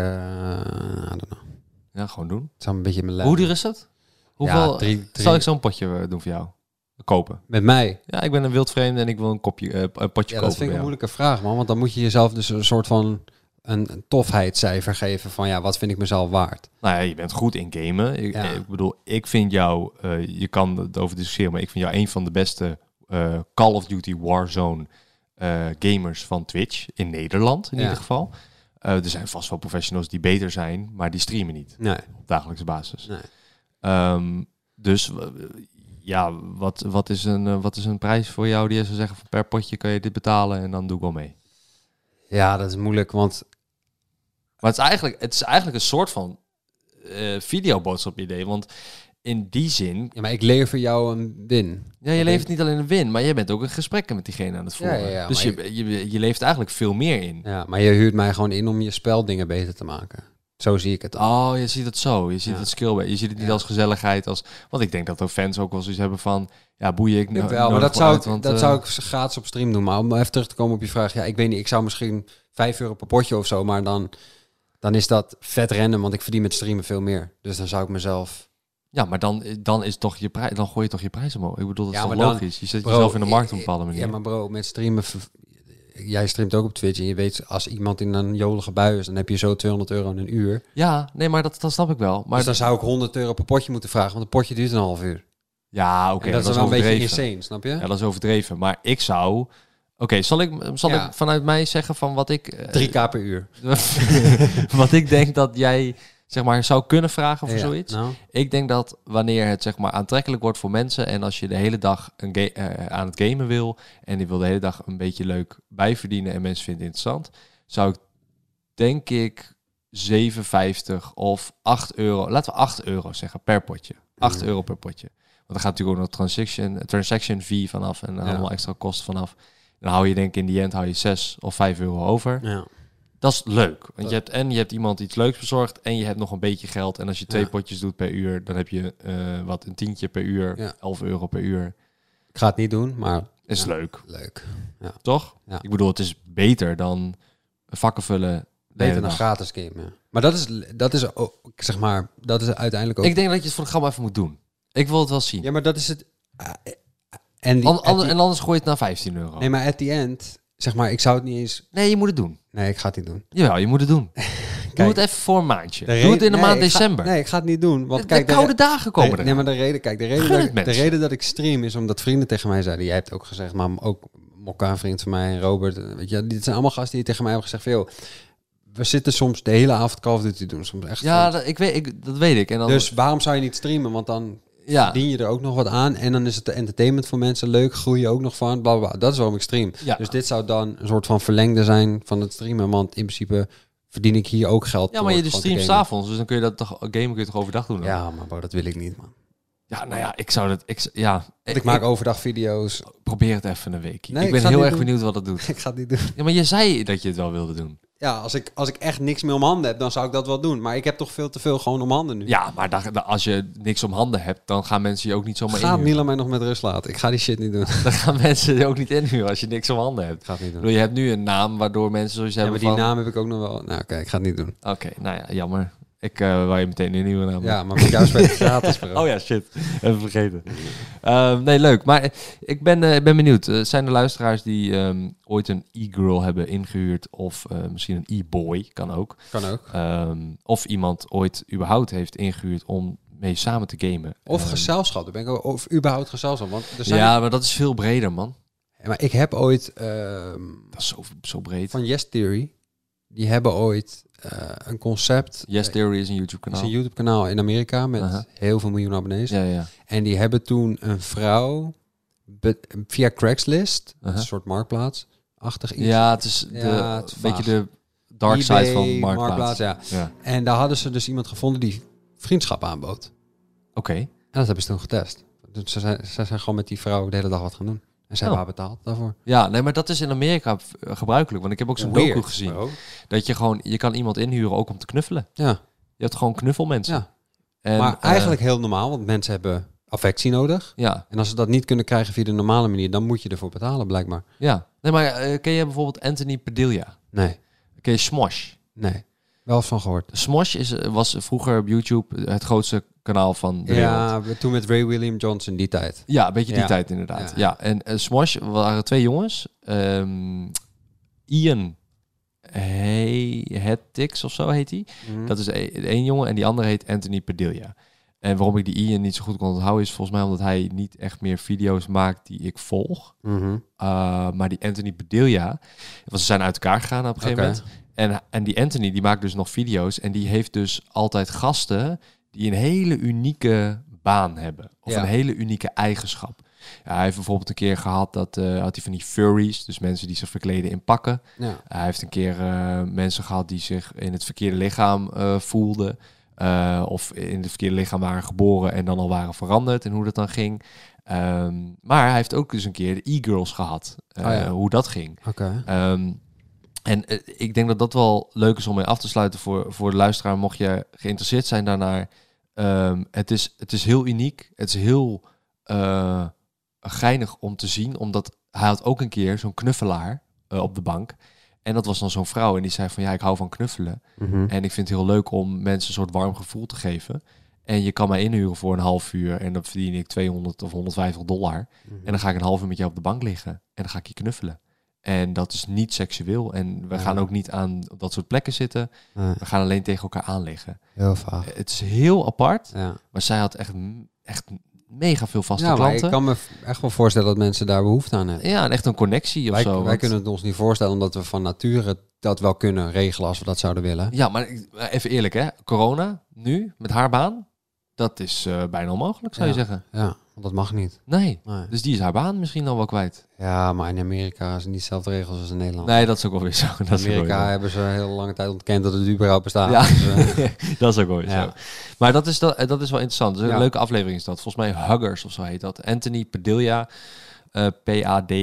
[SPEAKER 3] I don't know.
[SPEAKER 2] Ja, gewoon doen.
[SPEAKER 3] Het zou een beetje in mijn
[SPEAKER 2] Hoe
[SPEAKER 3] lijf-
[SPEAKER 2] duur is dat? Hoeveel,
[SPEAKER 3] Ja, drie, drie-
[SPEAKER 2] Zal ik zo'n potje eh, doen voor jou? Kopen.
[SPEAKER 3] Met mij?
[SPEAKER 2] Ja, ik ben een wildvreemde en ik wil een, kopje, eh, een potje kopen.
[SPEAKER 3] Ja, dat vind ik
[SPEAKER 2] bij
[SPEAKER 3] een
[SPEAKER 2] jou.
[SPEAKER 3] moeilijke vraag, man. Want dan moet je jezelf dus een soort van een een tofheidscijfer geven van ja, wat vind ik mezelf waard?
[SPEAKER 2] Nou ja, je bent goed in gamen. Ik, eh,
[SPEAKER 3] Ja.
[SPEAKER 2] ik bedoel, ik vind jou, eh, je kan het over discussiëren, maar ik vind jou een van de beste eh, Call of Duty Warzone eh, gamers van Twitch. In Nederland in
[SPEAKER 3] Ja.
[SPEAKER 2] ieder geval. Eh, er zijn vast wel professionals die beter zijn, maar die streamen niet
[SPEAKER 3] Nee.
[SPEAKER 2] op dagelijkse basis.
[SPEAKER 3] Nee.
[SPEAKER 2] Ehm, dus eh, ja, wat, wat, is een, eh, wat is een prijs voor jou die je zou zeggen van per potje kan je dit betalen en dan doe ik wel mee.
[SPEAKER 3] Ja, dat is moeilijk, want
[SPEAKER 2] Maar het is eigenlijk, het is eigenlijk een soort van eh videoboodschap idee, want in die zin
[SPEAKER 3] ja, maar ik lever jou een win.
[SPEAKER 2] Ja, je leeft niet alleen een win, maar je bent ook in gesprekken met diegene aan het voeren.
[SPEAKER 3] Ja, ja, ja,
[SPEAKER 2] dus
[SPEAKER 3] maar
[SPEAKER 2] je, je, je leeft eigenlijk veel meer in.
[SPEAKER 3] Ja, maar je huurt mij gewoon in om je speldingen beter te maken. Zo zie ik het.
[SPEAKER 2] Oh, je ziet het zo. Je ziet
[SPEAKER 3] Ja.
[SPEAKER 2] het skill. bij- Je ziet het niet
[SPEAKER 3] Ja.
[SPEAKER 2] als gezelligheid. Als, want ik denk dat ook fans ook wel zoiets hebben van... Ja, boeien ik nou,
[SPEAKER 3] wel, maar
[SPEAKER 2] nodig
[SPEAKER 3] dat,
[SPEAKER 2] wel
[SPEAKER 3] zou,
[SPEAKER 2] uit,
[SPEAKER 3] ik,
[SPEAKER 2] want,
[SPEAKER 3] dat
[SPEAKER 2] eh,
[SPEAKER 3] zou ik gratis op stream doen. Maar om even terug te komen op je vraag. Ja, ik weet niet, ik zou misschien 5 euro per potje of zo. Maar dan, dan is dat vet random, want ik verdien met streamen veel meer. Dus dan zou ik mezelf...
[SPEAKER 2] Ja, maar dan, eh, dan, is toch je prij- dan gooi je toch je prijs omhoog. Ik bedoel, dat
[SPEAKER 3] Ja,
[SPEAKER 2] is toch
[SPEAKER 3] maar dan-
[SPEAKER 2] logisch? je zet
[SPEAKER 3] Bro,
[SPEAKER 2] jezelf in de markt op
[SPEAKER 3] eh,
[SPEAKER 2] een bepaalde manier.
[SPEAKER 3] Ja, maar bro, met streamen... ver- Jij streamt ook op Twitch en je weet, als iemand in een jolige bui is, dan heb je zo 200 euro in een uur.
[SPEAKER 2] Ja, nee, maar dat, dat snap ik wel. Maar
[SPEAKER 3] dus dan zou ik 100 euro per potje moeten vragen, want een potje duurt een half uur.
[SPEAKER 2] Ja, oké,
[SPEAKER 3] en dat, is
[SPEAKER 2] wel
[SPEAKER 3] dan wel een beetje
[SPEAKER 2] overdreven.
[SPEAKER 3] insane, snap je?
[SPEAKER 2] Ja, dat is overdreven. Maar ik zou... Oké, zal, ik, zal
[SPEAKER 3] Ja.
[SPEAKER 2] ik vanuit mij zeggen van wat ik... eh,
[SPEAKER 3] 3k per uur.
[SPEAKER 2] wat ik denk dat jij zeg maar zou kunnen vragen voor
[SPEAKER 3] Ja,
[SPEAKER 2] zoiets.
[SPEAKER 3] nou.
[SPEAKER 2] Ik denk dat wanneer het zeg maar aantrekkelijk wordt voor mensen en als je de hele dag een ga- eh, aan het gamen wil en je wil de hele dag een beetje leuk bijverdienen en mensen vinden het interessant, zou ik denk ik 7,50 of 8 euro, laten we 8 euro zeggen per potje. 8 euro per potje. Want er gaat natuurlijk ook nog transaction, transaction fee vanaf en
[SPEAKER 3] Ja.
[SPEAKER 2] allemaal extra kosten vanaf. Dan hou je denk ik in die end hou je 6 of 5 euro over.
[SPEAKER 3] Ja.
[SPEAKER 2] Dat is leuk. Want je hebt en je hebt iemand iets leuks bezorgd en je hebt nog een beetje geld. En als je twee
[SPEAKER 3] Ja.
[SPEAKER 2] potjes doet per uur, dan heb je eh, wat een tientje per uur,
[SPEAKER 3] Ja.
[SPEAKER 2] 11 euro per uur.
[SPEAKER 3] Ik ga het niet doen, maar
[SPEAKER 2] Is
[SPEAKER 3] Ja.
[SPEAKER 2] leuk,
[SPEAKER 3] leuk.
[SPEAKER 2] toch?
[SPEAKER 3] Ja.
[SPEAKER 2] Ik bedoel, het is beter dan vakken vullen. de hele
[SPEAKER 3] Beter dan
[SPEAKER 2] dag.
[SPEAKER 3] gratis game. ja. Maar dat is, dat is ook, zeg maar, dat is uiteindelijk ook.
[SPEAKER 2] Ik denk dat je het voor de gamma even moet doen. Ik wil het wel zien.
[SPEAKER 3] ja, maar dat is het. eh, eh, en die,
[SPEAKER 2] An-
[SPEAKER 3] at
[SPEAKER 2] ander-
[SPEAKER 3] die-
[SPEAKER 2] en anders gooi je het naar 15 euro.
[SPEAKER 3] nee,
[SPEAKER 2] Nee,
[SPEAKER 3] maar at the end, zeg maar, ik zou het niet eens.
[SPEAKER 2] je moet het doen.
[SPEAKER 3] Nee, ik ga het niet doen.
[SPEAKER 2] Jawel, je moet het doen. Doe het even voor een maandje. Doe het in de
[SPEAKER 3] Nee,
[SPEAKER 2] maand
[SPEAKER 3] ik ga-
[SPEAKER 2] december.
[SPEAKER 3] nee, ik ga het niet doen. Want
[SPEAKER 2] de,
[SPEAKER 3] kijk,
[SPEAKER 2] de
[SPEAKER 3] de-
[SPEAKER 2] koude dagen komen
[SPEAKER 3] Nee,
[SPEAKER 2] er.
[SPEAKER 3] nee, maar de reden, kijk, de reden,
[SPEAKER 2] Gun
[SPEAKER 3] dat,
[SPEAKER 2] het
[SPEAKER 3] ik- de
[SPEAKER 2] mensen.
[SPEAKER 3] reden dat ik stream is omdat vrienden tegen mij zeiden, jij hebt ook gezegd, maar ook Mokka, een vriend van mij en Robert, eh, weet je, dit zijn allemaal gasten die tegen mij hebben gezegd, van, joh, we zitten soms de hele avond Call of Duty doen, soms echt.
[SPEAKER 2] ja,
[SPEAKER 3] van-
[SPEAKER 2] dat, ik weet, ik, dat weet ik. En dan,
[SPEAKER 3] dus waarom zou je niet streamen? Want dan
[SPEAKER 2] ja.
[SPEAKER 3] dien je er ook nog wat aan en dan is het de entertainment voor mensen leuk, groei je ook nog van, bla bla. bla. Dat is waarom ik stream.
[SPEAKER 2] Ja.
[SPEAKER 3] Dus dit zou dan een soort van verlengde zijn van het streamen, want in principe verdien ik hier ook geld.
[SPEAKER 2] Ja,
[SPEAKER 3] door
[SPEAKER 2] maar je
[SPEAKER 3] het
[SPEAKER 2] dus
[SPEAKER 3] gewoon
[SPEAKER 2] streamt
[SPEAKER 3] te
[SPEAKER 2] s'avonds, dus dan kun je dat toch gamen kun je toch overdag doen.
[SPEAKER 3] gamen.
[SPEAKER 2] dan?
[SPEAKER 3] Ja, maar bro, dat wil ik niet, man.
[SPEAKER 2] ja, nou ja, ik zou dat, Eh, ik, z- ja,
[SPEAKER 3] Want ik maak overdag video's.
[SPEAKER 2] probeer het even een week.
[SPEAKER 3] Nee,
[SPEAKER 2] ik
[SPEAKER 3] ik
[SPEAKER 2] ben
[SPEAKER 3] ga het
[SPEAKER 2] heel
[SPEAKER 3] niet
[SPEAKER 2] erg
[SPEAKER 3] doen.
[SPEAKER 2] benieuwd wat dat doet.
[SPEAKER 3] Ik ga het niet doen.
[SPEAKER 2] Ja, maar je zei dat je het wel wilde doen.
[SPEAKER 3] Ja, als ik, als ik echt niks meer om handen heb, dan zou ik dat wel doen. Maar ik heb toch veel te veel gewoon om handen nu.
[SPEAKER 2] Ja, maar daar- daar- als je niks om handen hebt, dan gaan mensen je ook niet zomaar
[SPEAKER 3] Gaat
[SPEAKER 2] inhuren.
[SPEAKER 3] Milan mij nog met rust laten? Ik ga die shit niet doen.
[SPEAKER 2] Dan gaan mensen je ook niet inhuren als je niks om handen hebt.
[SPEAKER 3] Ik ga het niet
[SPEAKER 2] Ik
[SPEAKER 3] doen.
[SPEAKER 2] bedoel, je hebt nu een naam waardoor mensen zoiets
[SPEAKER 3] Ja,
[SPEAKER 2] hebben
[SPEAKER 3] maar die
[SPEAKER 2] van...
[SPEAKER 3] naam heb ik ook nog wel. Nou, oké, ik ga het niet doen.
[SPEAKER 2] Oké, nou ja, jammer. Ik eh wou je meteen een nieuwe naam
[SPEAKER 3] Ja, maar met jou spelen gratis, bro.
[SPEAKER 2] Oh ja, shit. Even vergeten. Ehm, nee, leuk. Maar eh, ik ben, eh, ik ben benieuwd. Eh, zijn er luisteraars die ehm, ooit een e-girl hebben ingehuurd? Of eh, misschien een e-boy, kan ook.
[SPEAKER 3] Kan ook.
[SPEAKER 2] Ehm, of iemand ooit überhaupt heeft ingehuurd om mee samen te gamen.
[SPEAKER 3] Of
[SPEAKER 2] Ehm,
[SPEAKER 3] gezelschap. daar Ben ik ook, of überhaupt gezelschap. Want er zijn
[SPEAKER 2] Ja, maar dat is veel breder, man.
[SPEAKER 3] Maar ik heb ooit ehm,
[SPEAKER 2] Dat is zo, zo breed.
[SPEAKER 3] van Yes Theory. Die hebben ooit eh, een concept.
[SPEAKER 2] Yes
[SPEAKER 3] Eh,
[SPEAKER 2] Theory is een YouTube-kanaal.
[SPEAKER 3] is een YouTube-kanaal in Amerika met
[SPEAKER 2] nou. Aha.
[SPEAKER 3] heel veel miljoen abonnees.
[SPEAKER 2] ja, ja.
[SPEAKER 3] En die hebben toen een vrouw be- via Craigslist,
[SPEAKER 2] Uh-huh.
[SPEAKER 3] een soort marktplaats, achtig iets.
[SPEAKER 2] ja, het is de,
[SPEAKER 3] Ja, het is
[SPEAKER 2] een beetje
[SPEAKER 3] vaag.
[SPEAKER 2] de dark side
[SPEAKER 3] eBay,
[SPEAKER 2] van Marktplaats.
[SPEAKER 3] ja.
[SPEAKER 2] Ja.
[SPEAKER 3] En daar hadden ze dus iemand gevonden die vriendschap aanbood.
[SPEAKER 2] Oké.
[SPEAKER 3] En dat hebben ze toen getest. Dus ze zijn, ze zijn gewoon met die vrouw de hele dag wat gaan doen. En ze
[SPEAKER 2] Oh.
[SPEAKER 3] hebben haar betaald daarvoor.
[SPEAKER 2] Ja, nee, maar dat is in Amerika eh, gebruikelijk. Want ik heb ook zo'n docu
[SPEAKER 3] Weird,
[SPEAKER 2] gezien.
[SPEAKER 3] bro.
[SPEAKER 2] Dat je gewoon, je kan iemand inhuren ook om te knuffelen.
[SPEAKER 3] Ja,
[SPEAKER 2] Je hebt gewoon knuffelmensen.
[SPEAKER 3] ja.
[SPEAKER 2] En,
[SPEAKER 3] maar
[SPEAKER 2] eh,
[SPEAKER 3] eigenlijk heel normaal, want mensen hebben affectie nodig.
[SPEAKER 2] ja,
[SPEAKER 3] En als ze dat niet kunnen krijgen via de normale manier, dan moet je ervoor betalen, blijkbaar.
[SPEAKER 2] ja. Nee, maar eh, ken je bijvoorbeeld Anthony Padilla?
[SPEAKER 3] Nee,
[SPEAKER 2] Ken je Smosh?
[SPEAKER 3] nee. Wel eens van gehoord.
[SPEAKER 2] Smosh is, eh, was vroeger op YouTube het grootste kanaal van de wereld.
[SPEAKER 3] Ja, we- toen met Ray William Johnson die tijd.
[SPEAKER 2] Ja, een beetje die
[SPEAKER 3] Ja.
[SPEAKER 2] tijd inderdaad. Ja,
[SPEAKER 3] Ja.
[SPEAKER 2] en eh, Smosh waren twee jongens. Ehm, Ian Hey, Hettix of zo heet hij.
[SPEAKER 3] Mhm.
[SPEAKER 2] Dat is e- één jongen en die andere heet Anthony Padilla. En waarom ik die Ian niet zo goed kon onthouden is volgens mij omdat hij niet echt meer video's maakt die ik volg.
[SPEAKER 3] Mhm.
[SPEAKER 2] Uh, maar die Anthony Padilla, want ze zijn uit elkaar gegaan op een gegeven
[SPEAKER 3] Oké.
[SPEAKER 2] moment. En, en die Anthony die maakt dus nog video's en die heeft dus altijd gasten die een hele unieke baan hebben. Of
[SPEAKER 3] Ja.
[SPEAKER 2] een hele unieke eigenschap. Ja, hij heeft bijvoorbeeld een keer gehad dat eh, had hij van die furries, dus mensen die zich verkleden in pakken.
[SPEAKER 3] Ja.
[SPEAKER 2] Hij heeft een keer eh, mensen gehad die zich in het verkeerde lichaam eh, voelden. eh, of in het verkeerde lichaam waren geboren en dan al waren veranderd en hoe dat dan ging. Ehm, maar hij heeft ook dus een keer de e-girls gehad, eh,
[SPEAKER 3] Oh ja.
[SPEAKER 2] hoe dat ging.
[SPEAKER 3] Oké.
[SPEAKER 2] Ehm, en eh, ik denk dat dat wel leuk is om mee af te sluiten voor, voor de luisteraar, mocht je geïnteresseerd zijn daarnaar. Ehm, het, is, het is heel uniek, het is heel eh, geinig om te zien, omdat hij had ook een keer zo'n knuffelaar eh, op de bank. En dat was dan zo'n vrouw en die zei van ja, ik hou van knuffelen. En ik vind het heel leuk om mensen een soort warm gevoel te geven. En je kan mij inhuren voor een half uur en dan verdien ik 200 of 150 dollar. En dan ga ik een half uur met jou op de bank liggen en dan ga ik je knuffelen. En dat is niet seksueel. En we
[SPEAKER 3] Ja.
[SPEAKER 2] gaan ook niet aan dat soort plekken zitten.
[SPEAKER 3] Ja,
[SPEAKER 2] We gaan alleen tegen elkaar aan liggen.
[SPEAKER 3] heel vaag.
[SPEAKER 2] Het is heel apart,
[SPEAKER 3] Ja,
[SPEAKER 2] maar zij had echt, echt mega veel vaste
[SPEAKER 3] ja maar ik
[SPEAKER 2] klanten.
[SPEAKER 3] kan me echt wel voorstellen dat mensen daar behoefte aan hebben.
[SPEAKER 2] Ja, en echt een connectie of
[SPEAKER 3] Wij,
[SPEAKER 2] zo.
[SPEAKER 3] wij
[SPEAKER 2] want-
[SPEAKER 3] kunnen het ons niet voorstellen omdat we van nature dat wel kunnen regelen als we dat zouden willen.
[SPEAKER 2] Ja, maar ik- maar even eerlijk hè. Corona, nu, met haar baan, dat is eh, bijna onmogelijk, zou je
[SPEAKER 3] Ja.
[SPEAKER 2] zeggen.
[SPEAKER 3] Ja, want dat mag niet.
[SPEAKER 2] Nee.
[SPEAKER 3] Nee.
[SPEAKER 2] Dus die is haar baan misschien dan wel kwijt.
[SPEAKER 3] Ja, maar in Amerika zijn niet dezelfde regels als in Nederland.
[SPEAKER 2] Nee, dat is ook wel weer zo. Dat
[SPEAKER 3] in
[SPEAKER 2] is ook wel
[SPEAKER 3] Amerika
[SPEAKER 2] weer
[SPEAKER 3] hebben ze heel lange tijd ontkend dat het überhaupt bestaat.
[SPEAKER 2] Ja.
[SPEAKER 3] Dus, eh,
[SPEAKER 2] zo. Ah, dat is ook wel weer
[SPEAKER 3] Ja.
[SPEAKER 2] zo. Maar dat is, dat, dat is wel interessant. Dus een
[SPEAKER 3] Ja.
[SPEAKER 2] leuke aflevering is dat. Volgens mij Huggers of zo heet dat. Anthony Padilla. eh,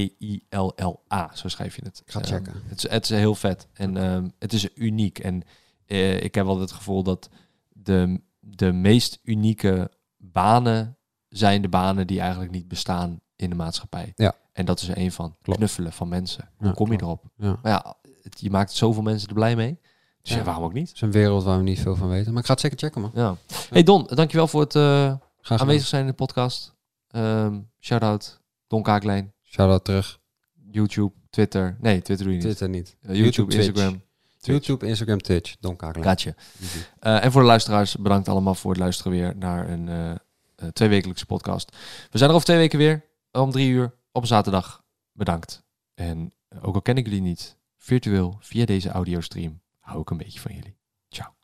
[SPEAKER 2] P-A-D-I-L-L-A. Zo schrijf je het.
[SPEAKER 3] ik ga het
[SPEAKER 2] Ehm,
[SPEAKER 3] checken.
[SPEAKER 2] Het is, het is heel vet en ehm, het is uniek. En eh, ik heb wel het gevoel dat de, de meest unieke banen zijn de banen die eigenlijk niet bestaan in de maatschappij.
[SPEAKER 3] Ja.
[SPEAKER 2] En dat is er één van.
[SPEAKER 3] Klopt.
[SPEAKER 2] Knuffelen van mensen. Hoe
[SPEAKER 3] Ja,
[SPEAKER 2] kom je
[SPEAKER 3] klopt.
[SPEAKER 2] erop?
[SPEAKER 3] Ja.
[SPEAKER 2] Maar ja, het- je maakt zoveel mensen er blij mee. Dus ja,
[SPEAKER 3] Ja.
[SPEAKER 2] waarom ook niet?
[SPEAKER 3] Het is een wereld waar we niet veel van weten. Maar ik ga het zeker checken, man.
[SPEAKER 2] Ja. Hey Don, dankjewel voor het eh,
[SPEAKER 3] Graag gedaan.
[SPEAKER 2] aanwezig zijn in de podcast. Ehm Shout-out Don Kaaklijn,
[SPEAKER 3] Shout-out terug.
[SPEAKER 2] YouTube, Twitter. Nee, Twitter doe je niet.
[SPEAKER 3] Twitter niet.
[SPEAKER 2] Eh, YouTube,
[SPEAKER 3] Twitch.
[SPEAKER 2] Instagram. Twitch.
[SPEAKER 3] YouTube, Instagram, Twitch. Don Kakelen.
[SPEAKER 2] Gaatje. Eh, en voor de luisteraars, bedankt allemaal voor het luisteren weer naar een eh eh, tweewekelijkse podcast. We zijn er over twee weken weer, om drie uur, op een zaterdag. Bedankt. En eh, ook al ken ik jullie niet, virtueel, via deze audiostream, hou ik een beetje van jullie. Ciao.